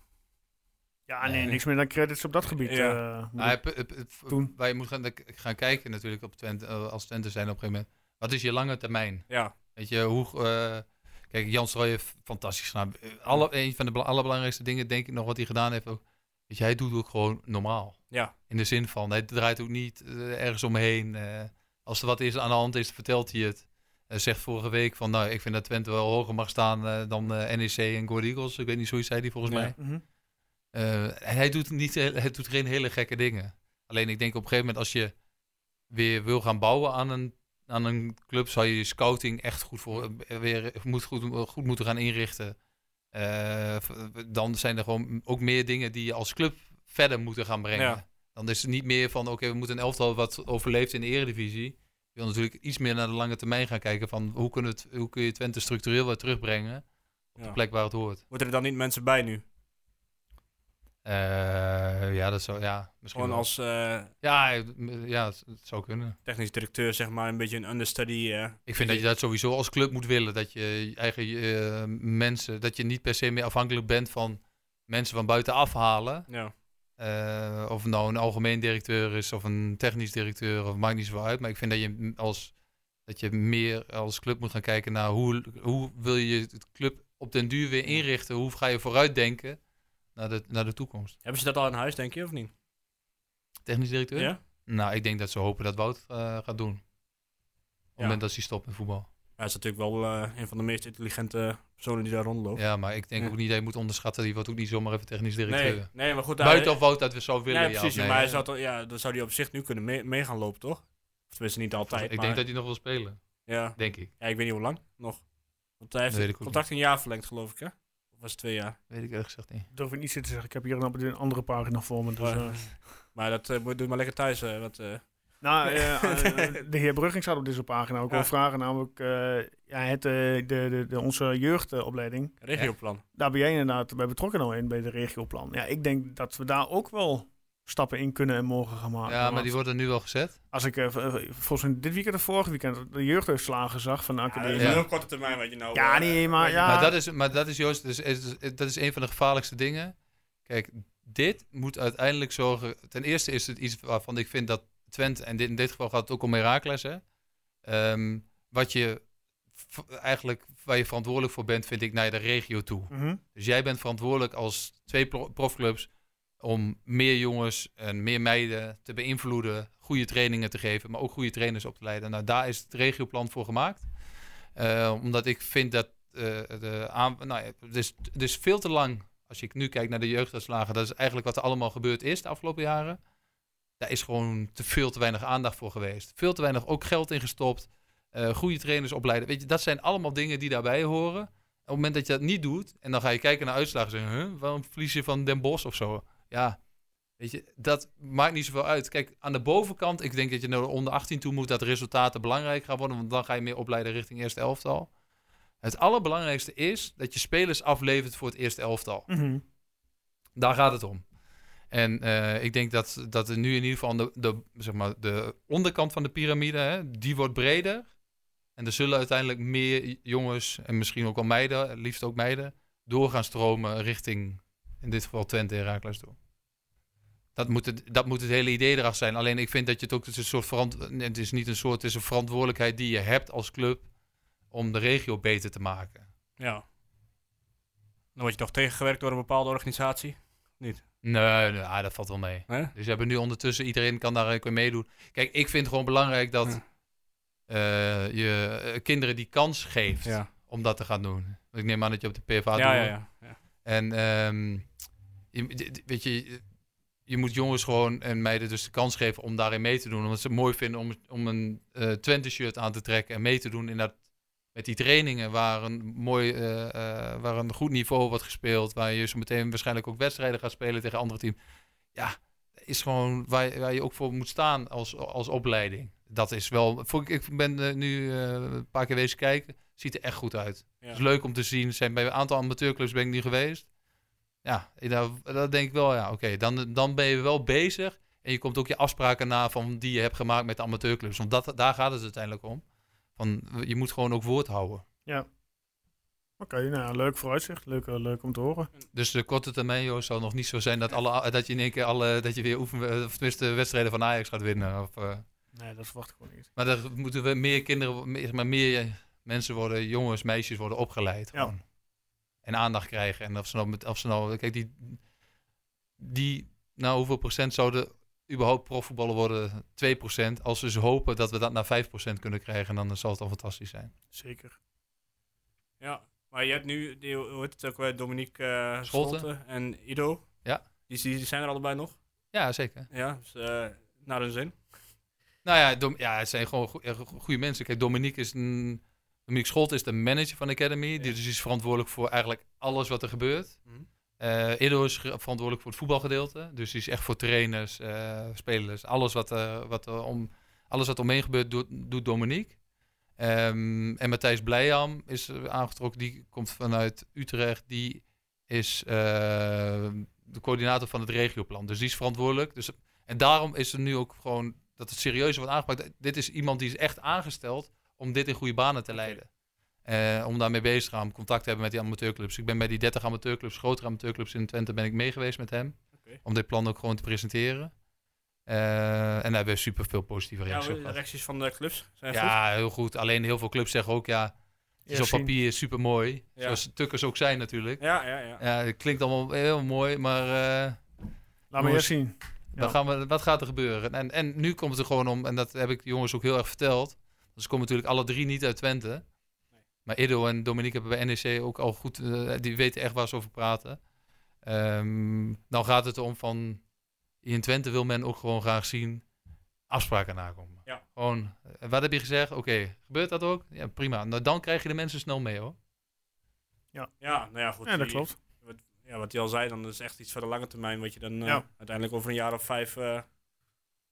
Speaker 1: Ja, nee,
Speaker 3: Nee.
Speaker 1: niks meer dan credits op dat gebied.
Speaker 2: Ja.
Speaker 1: eh, moet
Speaker 3: Nou,
Speaker 1: ik-
Speaker 3: heb- heb- heb-
Speaker 1: Toen.
Speaker 3: Wij moeten gaan, gaan kijken natuurlijk op Twente, eh, als Twente zijn op een gegeven moment. Wat is je lange termijn?
Speaker 2: Ja,
Speaker 3: Weet je, hoe... eh, kijk, Jan Strooij heeft fantastisch gedaan. Eh, Alle, een van de bela- allerbelangrijkste dingen, denk ik nog, wat hij gedaan heeft ook. Weet je, hij doet ook gewoon normaal.
Speaker 2: ja.
Speaker 3: In de zin van, hij draait ook niet eh, ergens omheen. eh. als er wat is aan de hand is, vertelt hij het. Hij zegt vorige week van, nou, ik vind dat Twente wel hoger mag staan eh, dan eh, NEC en Go Eagles. Ik weet niet, zoiets zei hij volgens
Speaker 2: Ja.
Speaker 3: mij.
Speaker 1: Mhm.
Speaker 3: Eh, en hij doet, niet, hij doet geen hele gekke dingen. Alleen ik denk op een gegeven moment als je weer wil gaan bouwen aan een, aan een club, zou je je scouting echt goed, voor, eh, weer, moet, goed, goed moeten gaan inrichten. Eh, v- dan zijn er gewoon ook meer dingen die je als club verder moeten gaan brengen.
Speaker 2: Ja.
Speaker 3: Dan is het niet meer van, oké, we moeten een elftal wat overleeft in de eredivisie. Je wil natuurlijk iets meer naar de lange termijn gaan kijken van hoe, kunnen het, hoe kun je Twente structureel weer terugbrengen op de
Speaker 2: Ja.
Speaker 3: plek waar het hoort.
Speaker 2: Worden er dan niet mensen bij nu?
Speaker 3: Eh, ja, dat zou, ja, misschien
Speaker 2: Gewoon
Speaker 3: wel.
Speaker 2: als eh,
Speaker 3: Ja, eh, m- ja, het, het zou kunnen.
Speaker 2: technisch directeur, zeg maar, een beetje een understudy. eh
Speaker 3: Ik vind dat je dat sowieso als club moet willen. Dat je je eigen eh, mensen, dat je niet per se meer afhankelijk bent van mensen van buiten afhalen.
Speaker 2: Ja.
Speaker 3: Eh, of het nou een algemeen directeur is of een technisch directeur, of maakt niet zoveel uit. Maar ik vind dat je, m- als, dat je meer als club moet gaan kijken naar hoe, hoe wil je het club op den duur weer inrichten. Hoe ga je vooruitdenken naar de, naar de toekomst?
Speaker 2: Hebben ze dat al in huis, denk je, of niet?
Speaker 3: Technisch directeur?
Speaker 2: Ja?
Speaker 3: Nou, ik denk dat ze hopen dat Wout eh, gaat doen. Op het
Speaker 2: Ja.
Speaker 3: moment dat hij stopt met voetbal.
Speaker 2: Hij is natuurlijk wel eh, een van de meest intelligente personen die daar rondloopt.
Speaker 3: Ja, maar ik denk
Speaker 2: Ja.
Speaker 3: ook niet dat je moet onderschatten. Die wordt ook niet zomaar even technisch directeur.
Speaker 2: nee, nee, maar goed. daar-
Speaker 3: Buiten of Wout dat we zo willen.
Speaker 2: Nee, precies.
Speaker 3: of nee.
Speaker 2: maar hij zou toch- ja, dan zou hij op zich nu kunnen mee, mee gaan lopen, toch? Of tenminste, niet altijd.
Speaker 3: Ik
Speaker 2: maar-
Speaker 3: denk dat hij nog wil spelen.
Speaker 2: ja.
Speaker 3: Denk ik.
Speaker 2: ja, ik weet niet hoe lang nog. Want hij heeft
Speaker 3: weet
Speaker 2: het
Speaker 3: ik ook
Speaker 2: contract een jaar verlengd, geloof ik, hè? Of was het twee jaar?
Speaker 3: Weet ik eerlijk gezegd niet.
Speaker 1: durf ik niet zitten zeggen. Ik heb hier een, een andere pagina voor me. Dus,
Speaker 2: Maar-
Speaker 1: eh.
Speaker 2: Maar dat eh, moet doe maar lekker thuis. eh, want, eh,
Speaker 1: Nou, [LAUGHS] eh, eh, de heer Brugging staat op deze pagina ook
Speaker 2: Ja.
Speaker 1: wel vragen. Namelijk, eh, ja, het, eh, de, de, de, onze jeugdopleiding,
Speaker 2: regioplan.
Speaker 1: daar ben jij inderdaad bij betrokken nou in, bij de regioplan. Ja, ik denk dat we daar ook wel stappen in kunnen en mogen gaan
Speaker 2: Ah,
Speaker 1: maken.
Speaker 3: ja, maar die wordt er nu wel gezet.
Speaker 1: Als ik eh, v- eh, volgens mij dit weekend of vorig weekend de jeugdhuisslagen zag van de
Speaker 2: dat
Speaker 1: academie.
Speaker 2: is
Speaker 1: Ja,
Speaker 2: een heel korte termijn wat je nou...
Speaker 1: Ja,
Speaker 2: eh,
Speaker 1: nee, maar
Speaker 2: wat je-
Speaker 1: ja.
Speaker 3: Maar, dat is, maar dat is Joost, dus, is, dat is een van de gevaarlijkste dingen. Kijk, dit moet uiteindelijk zorgen. Ten eerste is het iets waarvan ik vind dat Twente, en dit, in dit geval gaat het ook om Herakles, hè. Ehm, wat je v- eigenlijk, waar je verantwoordelijk voor bent, vind ik naar de regio toe.
Speaker 1: Mhm.
Speaker 3: Dus jij bent verantwoordelijk als twee pro- profclubs om meer jongens en meer meiden te beïnvloeden, goede trainingen te geven, maar ook goede trainers op te leiden. Nou, daar is het regioplan voor gemaakt. Eh, omdat ik vind dat eh, de aan, nou, ja, het, is, het is veel te lang, als ik nu kijk naar de jeugduitslagen, dat is eigenlijk wat er allemaal gebeurd is de afgelopen jaren. Daar is gewoon te veel te weinig aandacht voor geweest. Veel te weinig ook geld in gestopt. eh, goede trainers opleiden. Weet je, dat zijn allemaal dingen die daarbij horen op het moment dat je dat niet doet, en dan ga je kijken naar uitslagen en zeggen, huh, waarom verlies je van Den Bosch of zo? Ja, weet je, dat maakt niet zoveel uit. Kijk, aan de bovenkant, ik denk dat je naar de onder 18 toe moet, dat resultaten belangrijk gaan worden, want dan ga je meer opleiden richting eerste elftal. Het allerbelangrijkste is dat je spelers aflevert voor het eerste elftal.
Speaker 1: Mhm.
Speaker 3: Daar gaat het om. En eh, ik denk dat, dat er nu in ieder geval de, de, zeg maar, de onderkant van de piramide, hè, die wordt breder. En er zullen uiteindelijk meer jongens en misschien ook al meiden, het liefst ook meiden, door gaan stromen richting, in dit geval Twente en Herakles toe. Dat moet, het, dat moet het hele idee erachter zijn. Alleen ik vind dat je het ook, het is een soort verant- nee, het is niet een soort, het is een verantwoordelijkheid die je hebt als club om de regio beter te maken.
Speaker 2: Ja. Dan word je toch tegengewerkt door een bepaalde organisatie?
Speaker 3: Nee, nee ah, dat valt wel mee.
Speaker 2: Hè?
Speaker 3: Dus we hebben nu ondertussen, iedereen kan daar ook mee meedoen. Kijk, ik vind gewoon belangrijk dat
Speaker 2: Ja.
Speaker 3: eh, je eh, kinderen die kans geeft
Speaker 2: Ja.
Speaker 3: om dat te gaan doen. Want ik neem aan dat je op de PFA doet.
Speaker 2: Ja, ja, ja. ja.
Speaker 3: En ehm, je, d- d- weet je, je moet jongens gewoon en meiden dus de kans geven om daarin mee te doen. Omdat ze het mooi vinden om, om een eh Twente-shirt aan te trekken en mee te doen in dat, met die trainingen waar een, mooi, eh, eh, waar een goed niveau wordt gespeeld. Waar je zo meteen waarschijnlijk ook wedstrijden gaat spelen tegen andere teams. Ja, is gewoon waar, je- waar je ook voor moet staan als, als opleiding. Dat is wel... vond Ik ik ben eh, nu eh, een paar keer wezen kijken. Ziet er echt goed uit.
Speaker 2: Ja.
Speaker 3: Het is leuk om te zien. Zijn bij een aantal amateurclubs ben ik niet geweest. Ja, ik- daar, daar denk ik wel, ja, oké. Dan, dan ben je wel bezig. En je komt ook je afspraken na van die je hebt gemaakt met de amateurclubs. Want dat, daar gaat het uiteindelijk om. Van, je moet gewoon ook woord houden.
Speaker 1: Oké, nou ja, leuk vooruitzicht. Leuk, eh, leuk om te horen.
Speaker 3: Dus de korte termijn, Joost, zal nog niet zo zijn dat, alle, dat je in één keer alle, dat je weer oefen, eh, of tenminste de wedstrijden van Ajax gaat winnen. Of, eh,
Speaker 1: Nee, dat verwacht ik gewoon niet.
Speaker 3: maar er moeten we meer kinderen, meer, maar meer mensen worden, jongens, meisjes worden opgeleid.
Speaker 1: Ja.
Speaker 3: gewoon. En aandacht krijgen. En of ze nou, met, of ze nou kijk, die, die, nou hoeveel procent zouden überhaupt profvoetballer worden? 2 procent. Als we ze hopen dat we dat naar 5 procent kunnen krijgen, dan zal het al fantastisch zijn.
Speaker 1: Zeker.
Speaker 2: Ja, maar je hebt nu, die, hoe heet het ook weer, Dominique eh
Speaker 3: Scholte.
Speaker 2: Scholte. en Ido.
Speaker 3: Ja.
Speaker 2: Die, die zijn er allebei nog.
Speaker 3: Ja, zeker.
Speaker 2: Ja, dus, eh, naar hun zin.
Speaker 3: Nou ja, Dom- ja het zijn gewoon eh, goede mensen. Kijk, Dominique is een. Dominique Scholt is de manager van de Academy. Die dus is verantwoordelijk voor eigenlijk alles wat er gebeurt.
Speaker 2: Mhm.
Speaker 3: Eh Edo is ge- verantwoordelijk voor het voetbalgedeelte. Dus die is echt voor trainers, eh, spelers. Alles wat, eh, wat er om, alles wat omheen gebeurt, doet, doet Dominique. Ehm, en Matthijs Blijham is eh, aangetrokken. Die komt vanuit Utrecht. Die is eh, de coördinator van het regioplan. Dus die is verantwoordelijk. Dus, en daarom is er nu ook gewoon dat het serieus wordt aangepakt. Dit is iemand die is echt aangesteld om dit in goede banen te leiden. Eh, om daarmee bezig te gaan, om contact te hebben met die amateurclubs. Ik ben bij die 30 amateurclubs, grotere amateurclubs in Twente, ben ik meegeweest met hem.
Speaker 2: Oké.
Speaker 3: Om dit plan ook gewoon te presenteren. Eh, en daar hebben we super veel positieve
Speaker 2: Ja,
Speaker 3: reacties op
Speaker 2: de
Speaker 3: gehad.
Speaker 2: reacties van de clubs zijn goed.
Speaker 3: Ja, heel goed. Alleen heel veel clubs zeggen ook, ja,
Speaker 1: Ja,
Speaker 3: zo'n
Speaker 1: zien.
Speaker 3: papier is super mooi.
Speaker 2: Ja.
Speaker 3: Zoals tukkers ook zijn natuurlijk.
Speaker 2: Ja, ja, ja.
Speaker 3: Ja, het klinkt allemaal heel mooi, maar eh,
Speaker 1: Laat me
Speaker 3: Jongens.
Speaker 1: eerst zien. Ja.
Speaker 3: dan gaan we, wat gaat er gebeuren? En, en nu komt het er gewoon om, en dat heb ik de jongens ook heel erg verteld. want Ze komen natuurlijk alle drie niet uit Twente. Maar Ido en Dominique hebben bij NEC ook al goed, eh, die weten echt waar ze over praten. Ehm nou gaat het erom van, in Twente wil men ook gewoon graag zien afspraken nakomen.
Speaker 2: Ja.
Speaker 3: Gewoon, eh, wat heb je gezegd? Oké, gebeurt dat ook? Ja, prima. Nou, dan krijg je de mensen snel mee hoor.
Speaker 2: Ja, nou ja, goed.
Speaker 1: Ja, dat
Speaker 2: die-
Speaker 1: klopt.
Speaker 2: Ja, wat hij al zei, dan is echt iets voor de lange termijn, wat je dan eh,
Speaker 1: Ja.
Speaker 2: uiteindelijk over een jaar of vijf... eh,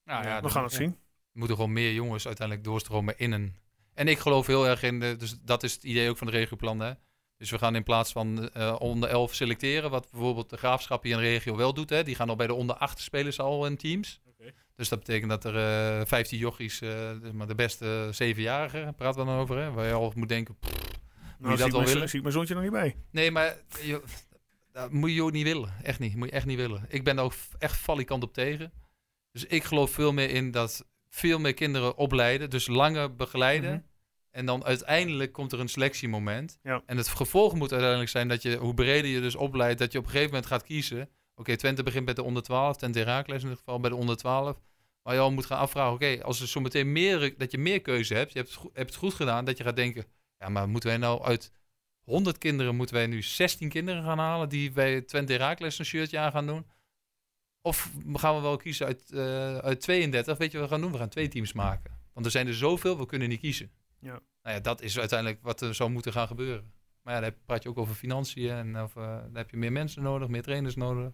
Speaker 3: Nou,
Speaker 2: Ja,
Speaker 1: We gaan het zien.
Speaker 3: moeten gewoon meer jongens uiteindelijk doorstromen in een. En ik geloof heel erg in de. Dus dat is het idee ook van de regioplan. Hè? Dus we gaan in plaats van eh, onder 11 selecteren, wat bijvoorbeeld de graafschap hier in de regio wel doet. Hè? Die gaan al bij de onder 8 spelers al in teams.
Speaker 2: Oké.
Speaker 3: Dus dat betekent dat er eh 15 jochies, eh, dus maar de beste zevenjarigen, praten we dan over. Hè? Waar je al moet denken. pff,
Speaker 1: Nou,
Speaker 3: dat
Speaker 1: zie, ik
Speaker 3: wel
Speaker 1: mijn,
Speaker 3: willen?
Speaker 1: zie ik mijn zoontje nog niet bij.
Speaker 3: Nee, maar je, dat moet je ook niet willen. Echt niet. Moet je echt niet willen. Ik ben daar ook echt valikant op tegen. Dus ik geloof veel meer in dat veel meer kinderen opleiden, dus langer begeleiden.
Speaker 1: Mhm.
Speaker 3: En dan uiteindelijk komt er een selectiemoment.
Speaker 1: Ja.
Speaker 3: En het gevolg moet uiteindelijk zijn dat je, hoe breder je dus opleidt, dat je op een gegeven moment gaat kiezen. Oké, Twente begint bij de onder 12, Twente Herakles in dit geval bij de onder 12. Maar je al moet gaan afvragen, oké, als er zometeen meer, dat je meer keuze hebt, je hebt het, goed, hebt het goed gedaan, dat je gaat denken, ja, maar moeten wij nou uit 100 kinderen, moeten wij nu 16 kinderen gaan halen die bij Twente Herakles een shirtje aan gaan doen? Of gaan we wel kiezen uit, eh, uit 32? Weet je wat we gaan doen? We gaan twee teams maken. Want er zijn er zoveel, we kunnen niet kiezen.
Speaker 1: Ja.
Speaker 3: Nou ja, dat is uiteindelijk wat er zou moeten gaan gebeuren. Maar ja, daar praat je ook over financiën en over, daar heb je meer mensen nodig, meer trainers nodig.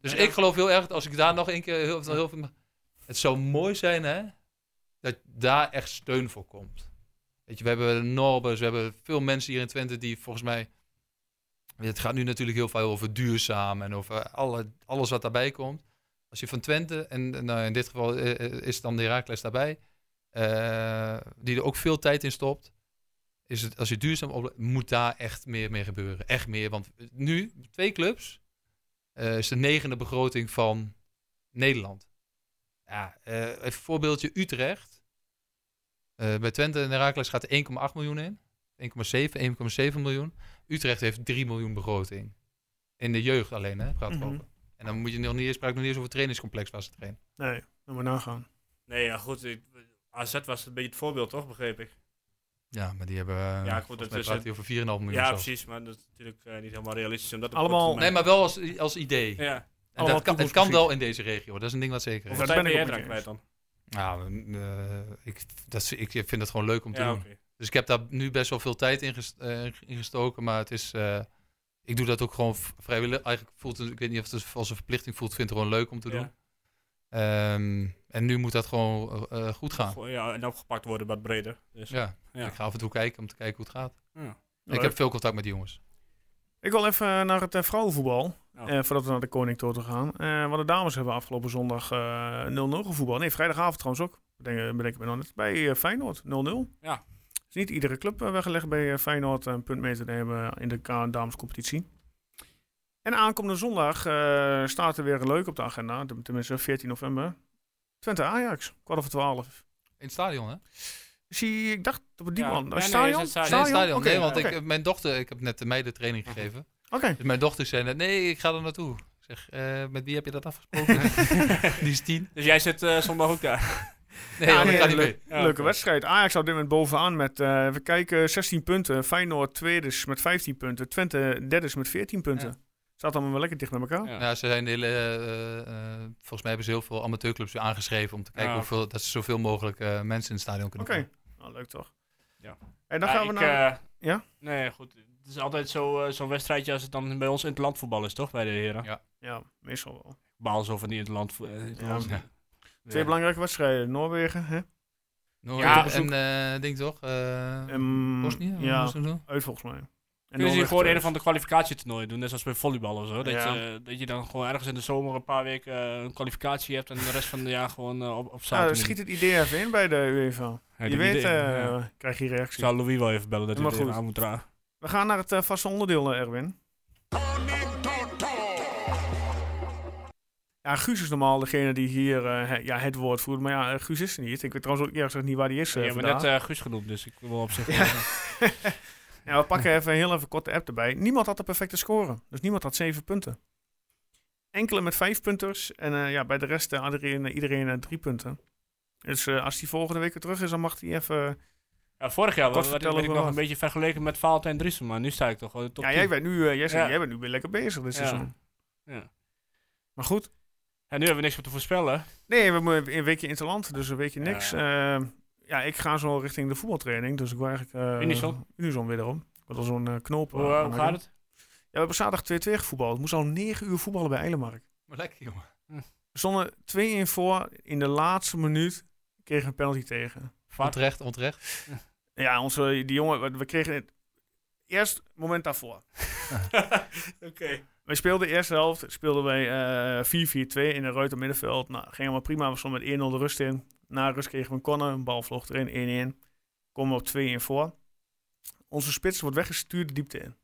Speaker 3: Dus
Speaker 2: Ja, ja.
Speaker 3: ik geloof heel erg, als ik daar nog een keer heel, heel veel... Het zou mooi zijn, hè, dat daar echt steun voor komt. Weet je, we hebben Norbers, we hebben veel mensen hier in Twente die volgens mij... Het gaat nu natuurlijk heel veel over duurzaam en over alle, alles wat daarbij komt. Als je van Twente, en eh, nou, in dit geval eh, eh, is dan de Herakles daarbij, eh, die er ook veel tijd in stopt. Is het, als je duurzaam op, moet daar echt meer mee gebeuren. Echt meer. Want nu, twee clubs, eh, is de negende begroting van Nederland. Ja, eh, even een voorbeeldje Utrecht. Eh, bij Twente en Herakles gaat er 1,8 miljoen in. 1,7, 1,7 miljoen. Utrecht heeft 3 miljoen begroting. In de jeugd alleen, hè? Praat
Speaker 1: Mhm.
Speaker 3: over. En dan moet je nog niet eens, praat ik nog niet eens over het trainingscomplex waar ze trainen.
Speaker 1: Nee, laat maar nagaan.
Speaker 2: nee, ja, goed. ik- AZ was een beetje het voorbeeld, toch? Begreep ik.
Speaker 3: Ja, maar die hebben. Ja,
Speaker 2: goed,
Speaker 3: ik
Speaker 2: dat
Speaker 3: praat
Speaker 2: is
Speaker 3: hij
Speaker 2: het-
Speaker 3: over 4,5 miljoen.
Speaker 2: Ja,
Speaker 3: of zo.
Speaker 2: precies. Maar dat is natuurlijk eh, niet helemaal realistisch. Omdat
Speaker 1: Allemaal-
Speaker 3: Nee, maar wel als, als idee.
Speaker 2: Ja.
Speaker 3: En
Speaker 1: allemaal
Speaker 3: dat kan, het kan
Speaker 1: toekomstmuziek.
Speaker 3: wel in deze regio, dat is een ding wat zeker
Speaker 2: Of
Speaker 3: is.
Speaker 1: Ja,
Speaker 2: dat
Speaker 1: daar
Speaker 2: ben
Speaker 1: ben ik
Speaker 2: jij
Speaker 1: ook
Speaker 2: dan
Speaker 1: met je
Speaker 2: kwijt dan?
Speaker 3: Nou, eh, ik, dat, is- ik vind het gewoon leuk om te
Speaker 2: Ja,
Speaker 3: doen.
Speaker 2: oké.
Speaker 3: Dus ik heb daar nu best wel veel tijd in, ges- eh, in gestoken. Maar het is. eh, ik doe dat ook gewoon v- vrijwillig. Eigenlijk voelt het. Ik weet niet of het als een verplichting voelt. Ik vind het gewoon leuk om te
Speaker 2: Ja.
Speaker 3: doen. Ehm, en nu moet dat gewoon eh, eh, goed gaan.
Speaker 2: Gewoon, Ja, en opgepakt worden wat breder. Dus.
Speaker 3: Ja.
Speaker 2: Ja.
Speaker 3: Ik ga af en toe kijken om te kijken hoe het gaat.
Speaker 1: Leuk.
Speaker 3: Ik heb veel contact met die jongens.
Speaker 1: Ik wil even eh, naar het eh, vrouwenvoetbal.
Speaker 2: Oh.
Speaker 1: eh, voordat we naar de Koning Tour gaan. Eh want de dames hebben afgelopen zondag eh, 0-0 gevoetbald. Nee, vrijdagavond trouwens ook. Bedenk, bedenk ik me dan net. Bij eh, Feyenoord 0-0.
Speaker 2: Ja.
Speaker 1: Is niet iedere club eh, weggelegd bij eh, Feyenoord een punt mee te nemen in de ka- damescompetitie. En aankomende zondag eh, staat er weer een leuk op de agenda. Ten- Tenminste, 14 november. Twente Ajax, kwart over twaalf.
Speaker 3: In het stadion, hè?
Speaker 1: Zie, ik dacht op die
Speaker 2: Ja.
Speaker 1: man.
Speaker 2: Nee, nee,
Speaker 1: stadion?
Speaker 2: is het stadion.
Speaker 3: Nee, in het stadion.
Speaker 1: Oké,
Speaker 3: nee, want
Speaker 1: oké,
Speaker 3: ik, eh, mijn dochter, ik heb net de meiden training gegeven.
Speaker 1: Oké.
Speaker 3: Dus mijn dochter zei net, nee, ik ga er naartoe. Ik zeg, eh, met wie heb je
Speaker 1: [LAUGHS]
Speaker 3: dat afgesproken? die is tien.
Speaker 2: Dus jij zit eh, zondag ook daar.
Speaker 3: Nee,
Speaker 1: Ja,
Speaker 3: want
Speaker 1: nee,
Speaker 3: ik ga niet
Speaker 1: leuk.
Speaker 2: Ja,
Speaker 3: mee.
Speaker 1: Leuke
Speaker 2: oké.
Speaker 1: wedstrijd. Ajax staat op dit moment bovenaan met, eh we kijken, 16 punten. Feyenoord tweeders met 15 punten. Twente derders met 14 punten.
Speaker 2: Ja.
Speaker 1: Staat allemaal wel lekker dicht bij elkaar.
Speaker 2: Ja.
Speaker 3: Ja, Nou, ze zijn de hele, eh, eh, volgens mij hebben ze heel veel amateurclubs weer aangeschreven om te kijken
Speaker 2: Ja.
Speaker 3: hoeveel, dat ze zoveel mogelijk eh, mensen in het stadion
Speaker 1: Oké,
Speaker 3: kunnen krijgen.
Speaker 1: nou, leuk toch.
Speaker 2: Ja.
Speaker 1: En dan
Speaker 2: Ja,
Speaker 1: gaan we
Speaker 2: ik,
Speaker 1: naar...
Speaker 2: eh,
Speaker 1: Ja?
Speaker 2: Nee, goed. Het is altijd zo, eh, zo'n wedstrijdje als het dan bij ons in het landvoetbal is, toch? Bij de heren.
Speaker 3: Ja.
Speaker 1: Ja, meestal wel.
Speaker 2: Baal zo van die in het land. eh, in het
Speaker 1: Ja.
Speaker 2: land-
Speaker 3: Ja.
Speaker 1: Twee belangrijke wedstrijden. Noorwegen, hè?
Speaker 2: Ja,
Speaker 3: Noorwegen en eh, ding toch? Eh
Speaker 1: Ehm,
Speaker 3: Bosnië?
Speaker 1: Ja,
Speaker 3: Moest het doen?
Speaker 1: uit volgens mij. En
Speaker 2: Kunnen ze hier
Speaker 1: Noorwegen
Speaker 2: gewoon een
Speaker 1: thuis.
Speaker 2: van de kwalificatietoernooien doen, net zoals bij volleybal of zo? Dat,
Speaker 1: Ja.
Speaker 2: je, eh, dat je dan gewoon ergens in de zomer een paar weken eh, een kwalificatie hebt en de rest van het jaar gewoon eh, op, op
Speaker 1: Ja,
Speaker 2: zaterdag.
Speaker 1: dan schiet het idee even in bij de UEFA.
Speaker 2: Ja,
Speaker 1: Je
Speaker 2: die
Speaker 1: weet,
Speaker 2: idee,
Speaker 1: eh,
Speaker 2: ja.
Speaker 1: krijg je
Speaker 2: Ik
Speaker 1: reactie.
Speaker 2: zou Louis wel even bellen dat
Speaker 1: Ja,
Speaker 2: hij
Speaker 1: maar
Speaker 2: het
Speaker 1: goed.
Speaker 2: aan moet dragen.
Speaker 1: We gaan naar het eh, vaste onderdeel, eh, Erwin. Ja, Guus is normaal degene die hier eh, he- ja, het woord voert. Maar ja, eh, Guus is er niet. Ik weet trouwens ook eerlijk gezegd niet waar hij is
Speaker 2: Je
Speaker 1: eh,
Speaker 2: hebt me
Speaker 1: vandaag.
Speaker 2: net eh, Guus genoemd, dus ik wil op zich...
Speaker 1: Ja. ja, we pakken even heel even korte app erbij. Niemand had de perfecte score. Dus niemand had zeven punten. Enkele met vijf punters. En eh, ja, bij de rest eh, had iedereen, iedereen eh, drie punten. Dus eh, als die volgende week weer terug is, dan mag hij even...
Speaker 2: Ja, vorig jaar
Speaker 1: Kort
Speaker 2: was werd,
Speaker 1: vertellen
Speaker 2: werd ik
Speaker 1: hoe
Speaker 2: nog
Speaker 1: het
Speaker 2: een beetje vergeleken met Valentijn Driessen, maar nu sta ik toch wel in de top
Speaker 1: Ja,
Speaker 2: 10.
Speaker 1: jij bent, nu, eh, jij, zegt,
Speaker 2: Ja.
Speaker 1: jij bent nu weer lekker bezig dit
Speaker 2: Ja.
Speaker 1: seizoen.
Speaker 2: Ja.
Speaker 1: Maar goed,
Speaker 2: En nu hebben we niks meer te voorspellen.
Speaker 1: Nee, we moeten een weekje interland, dus een weekje
Speaker 2: Ja.
Speaker 1: niks. Ja. ja, ik ga zo richting de voetbaltraining, dus ik wil eigenlijk... eh,
Speaker 2: Unison?
Speaker 1: Unison wederom. Ik wil al zo'n eh, knoop... eh,
Speaker 2: Hoe, eh, hoe
Speaker 1: aanmaken.
Speaker 2: gaat
Speaker 1: [LAUGHS]
Speaker 2: het?
Speaker 1: Ja, we hebben zaterdag 2-2 gevoetbald. Het moest al 9 uur voetballen bij Eilemark.
Speaker 3: Maar lekker jongen.
Speaker 1: We stonden 2-1 voor. In de laatste minuut kregen we een penalty tegen.
Speaker 2: Vaart?
Speaker 3: Onterecht, onterecht.
Speaker 1: Ja, onze, die jongen, we- we kregen het eerst het moment daarvoor.
Speaker 2: Oké.
Speaker 1: Wij speelden de eerste helft, speelden wij eh, 4-4-2 in een ruiter middenveld. Nou, ging helemaal prima. We stonden met 1-0 de rust in. Na rust kregen we een corner, een bal vloog erin, 1-1. Komen we op 2-1 voor. Onze spits wordt weggestuurd de diepte in.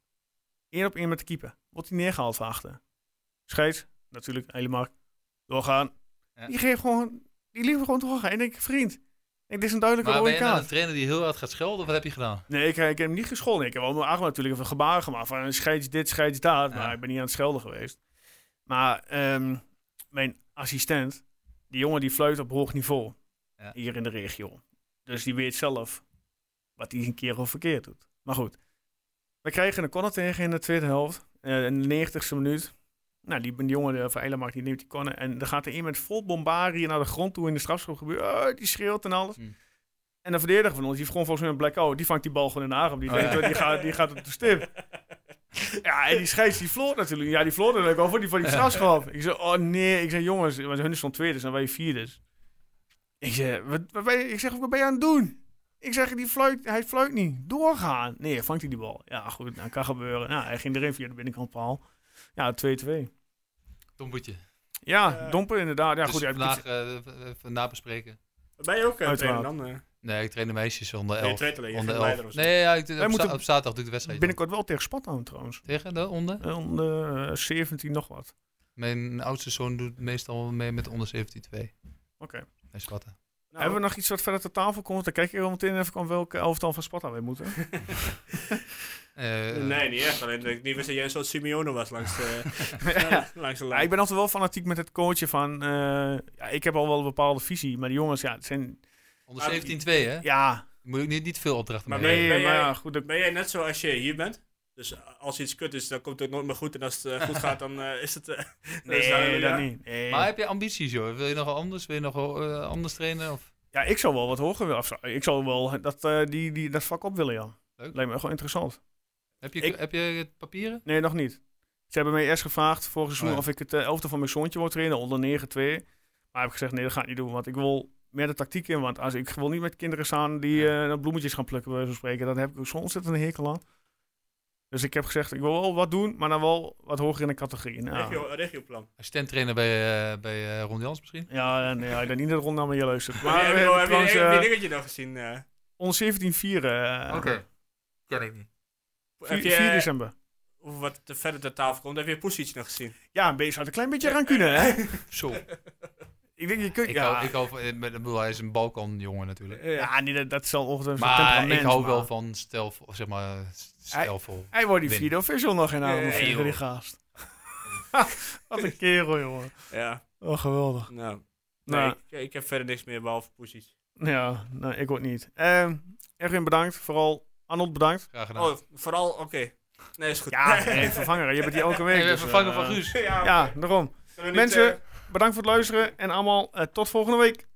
Speaker 1: 1 op 1 met de keeper. Wordt hij neergehaald van achter. Scheids, natuurlijk, helemaal. Doorgaan.
Speaker 3: Ja.
Speaker 1: Die geeft gewoon, die liep gewoon doorgaan. En ik denk, vriend, ik denk, dit is een duidelijke
Speaker 3: Maar ben
Speaker 1: rode
Speaker 3: je nou
Speaker 1: kaart.
Speaker 3: een trainer die heel hard gaat schelden? Of wat heb je gedaan?
Speaker 1: Nee, ik, ik heb hem niet gescholden. Ik heb wel mijn arm natuurlijk even gebaren gemaakt. Van scheids dit, scheids dat. Maar
Speaker 3: Ja.
Speaker 1: ik ben niet aan het schelden geweest. Maar ehm, mijn assistent, die jongen die fluit op hoog niveau.
Speaker 3: Ja.
Speaker 1: Hier in de regio. Dus die weet zelf wat hij een keer of verkeerd doet. Maar goed. We krijgen een corner tegen in de tweede helft. eh, in de 90ste minuut. Nou, die, die jongen eh, van Eilenmark, die neemt die corner. En dan gaat er een met vol bombarie naar de grond toe in de strafschop gebeuren. Oh, die schreeuwt en alles.
Speaker 3: Hmm.
Speaker 1: En de verdediger van ons, die heeft gewoon volgens mij een blackout. Die vangt die bal gewoon in de arm. Die,
Speaker 3: Oh,
Speaker 1: denkt,
Speaker 3: ja.
Speaker 1: eh, die, gaat, die gaat op de stip. Ja, en die scheids, die floort natuurlijk. Ja, die floort natuurlijk al voor die, voor die strafschop. Ik zei, oh nee. Ik zei, jongens, want hun stond tweede, dus en wij vierdes. Ik zeg, wat, wat ben je, ik zeg, wat ben je aan het doen? Ik zeg, die fluit, hij fluit niet. Doorgaan. Nee, vangt hij die bal. Ja, goed, nou, kan gebeuren. Nou, hij ging erin via de binnenkant paal. Ja, 2-2.
Speaker 3: Tom Boetje.
Speaker 1: Ja,
Speaker 2: Eh,
Speaker 1: domper inderdaad. Ja,
Speaker 3: dus
Speaker 1: goed, ja,
Speaker 3: vandaag eh, even nabespreken.
Speaker 2: Ben je ook
Speaker 1: eh,
Speaker 2: een
Speaker 1: Uiteraard.
Speaker 2: dan?
Speaker 3: Nee, ik train de meisjes onder
Speaker 2: nee,
Speaker 3: 11.
Speaker 2: trainer, je
Speaker 3: onder
Speaker 2: bent leider
Speaker 3: elf.
Speaker 2: of zo.
Speaker 3: Nee, ja, ik, doe-
Speaker 1: Wij
Speaker 3: op, za-
Speaker 1: moeten
Speaker 3: op zaterdag doe ik de wedstrijd.
Speaker 1: binnenkort wel tegen Spattown trouwens.
Speaker 3: Tegen de onder?
Speaker 1: Eh, Om de eh, 17 nog wat.
Speaker 3: Mijn oudste zoon doet meestal mee met de onder 17-2.
Speaker 1: Oké.
Speaker 3: Hij schatten.
Speaker 1: Hebben
Speaker 2: Nou,
Speaker 1: we nog iets wat verder ter tafel komt? Dan kijk ik er meteen even aan welke elftal van Sparta wij moeten.
Speaker 3: Eh,
Speaker 2: Nee, niet echt. Alleen dat ik niet wist dat jij een soort Simeone was langs de,
Speaker 1: [LAUGHS]
Speaker 2: [LAUGHS]
Speaker 1: ja.
Speaker 2: langs de
Speaker 1: Ja,
Speaker 2: lijn.
Speaker 1: ik ben altijd wel fanatiek met het coachen van... eh, ja, ik heb al wel een bepaalde visie, maar die jongens, ja, het zijn...
Speaker 3: Onder 17-2, hè?
Speaker 1: Ja,
Speaker 3: Moet je niet, niet veel opdrachten
Speaker 2: Maar
Speaker 3: mee
Speaker 1: nee,
Speaker 2: ben- ben
Speaker 1: maar
Speaker 2: jij-
Speaker 1: ja, goed. dat-
Speaker 2: Ben jij net zo als je hier bent? Dus als iets kut is, dan komt het nooit meer goed. En als het eh, goed gaat, dan eh, is het... eh, dan is
Speaker 1: nee,
Speaker 2: het alleen maar-
Speaker 1: dat niet. Nee.
Speaker 3: Maar heb je ambities, joh? Wil je nog wel anders? Wil je nog wel, eh, anders trainen? Of?
Speaker 1: Ja, ik zou wel wat hoger willen. of zo. Ik zou wel dat, eh, die, die, dat vak op willen, ja.
Speaker 3: Leuk.
Speaker 1: Lijkt me echt wel interessant.
Speaker 3: Heb, je,
Speaker 1: Ik-
Speaker 3: heb je papieren?
Speaker 1: Nee, nog niet. Ze hebben mij eerst gevraagd vorig seizoen
Speaker 3: Oh ja.
Speaker 1: of ik het eh, elfte van mijn zoontje wou trainen, onder 9-2. Maar heb ik gezegd, nee, dat ga ik niet doen, want ik wil meer de tactiek in. Want als, ik wil niet met kinderen staan die eh, bloemetjes gaan plukken, bij wijze van spreken. Dan heb ik ook zo'n ontzettende hekel aan. Dus ik heb gezegd, ik wil wel wat doen, maar dan wel wat hoger in de categorie. Nou,
Speaker 2: Regio, regioplan.
Speaker 3: Assistent trainer bij, eh, bij eh, Ron Jans misschien?
Speaker 1: ja, nee, ja, ik denk niet dat Ron naar me luistert. Maar
Speaker 2: Maar
Speaker 1: we
Speaker 2: heb je,
Speaker 1: hebben
Speaker 2: heb je,
Speaker 1: trouwens,
Speaker 2: heb je
Speaker 1: eh,
Speaker 2: een dingetje nog gezien? eh?
Speaker 1: onder 17 4, eh,
Speaker 3: Ken ik niet.
Speaker 1: 4,
Speaker 2: heb
Speaker 1: 4
Speaker 2: je, eh,
Speaker 1: december.
Speaker 2: hoe wat te verder ter tafel komt, heb je Poesic nog gezien?
Speaker 1: Ja, een beetje had een klein beetje rancune, hè? [LAUGHS]
Speaker 3: Zo.
Speaker 1: ik denk, je kunt,
Speaker 3: Ik,
Speaker 1: ja.
Speaker 3: hou, ik, hou, eh, met- ik bedoel, hij is een Balkanjongen natuurlijk.
Speaker 1: ja, nee, dat, dat zal ongetwijfeld zijn
Speaker 3: Maar ik
Speaker 1: temperament,
Speaker 3: hou
Speaker 1: maar-
Speaker 3: wel van stel, zeg maar, stelvol.
Speaker 1: Hij wordt die
Speaker 3: Win.
Speaker 1: vierde official nog in aan
Speaker 2: Nee,
Speaker 1: vinden,
Speaker 3: joh.
Speaker 1: die gaast. [LAUGHS] Wat een kerel, jongen.
Speaker 2: Ja,
Speaker 1: Oh, geweldig.
Speaker 2: nou. Nee,
Speaker 1: Nou.
Speaker 2: ik, ik heb verder niks meer behalve Poesic.
Speaker 1: Ja, nou, ik ook niet. Ehm Erwin, bedankt. Vooral Arnold, bedankt.
Speaker 3: Graag gedaan.
Speaker 2: Oh, vooral, oké. Nee, is goed.
Speaker 1: Nou.
Speaker 2: [LAUGHS]
Speaker 1: [LAUGHS] Ja, nee, vervanger. hè. Je bent hier elke week.
Speaker 3: Hey, we
Speaker 1: dus,
Speaker 3: vervangen
Speaker 1: eh,
Speaker 3: van Guus.
Speaker 2: Ja,
Speaker 1: Ja, daarom.
Speaker 2: zullen we niet,
Speaker 1: Mensen,
Speaker 2: eh,
Speaker 1: bedankt voor het luisteren. En allemaal eh, tot volgende week.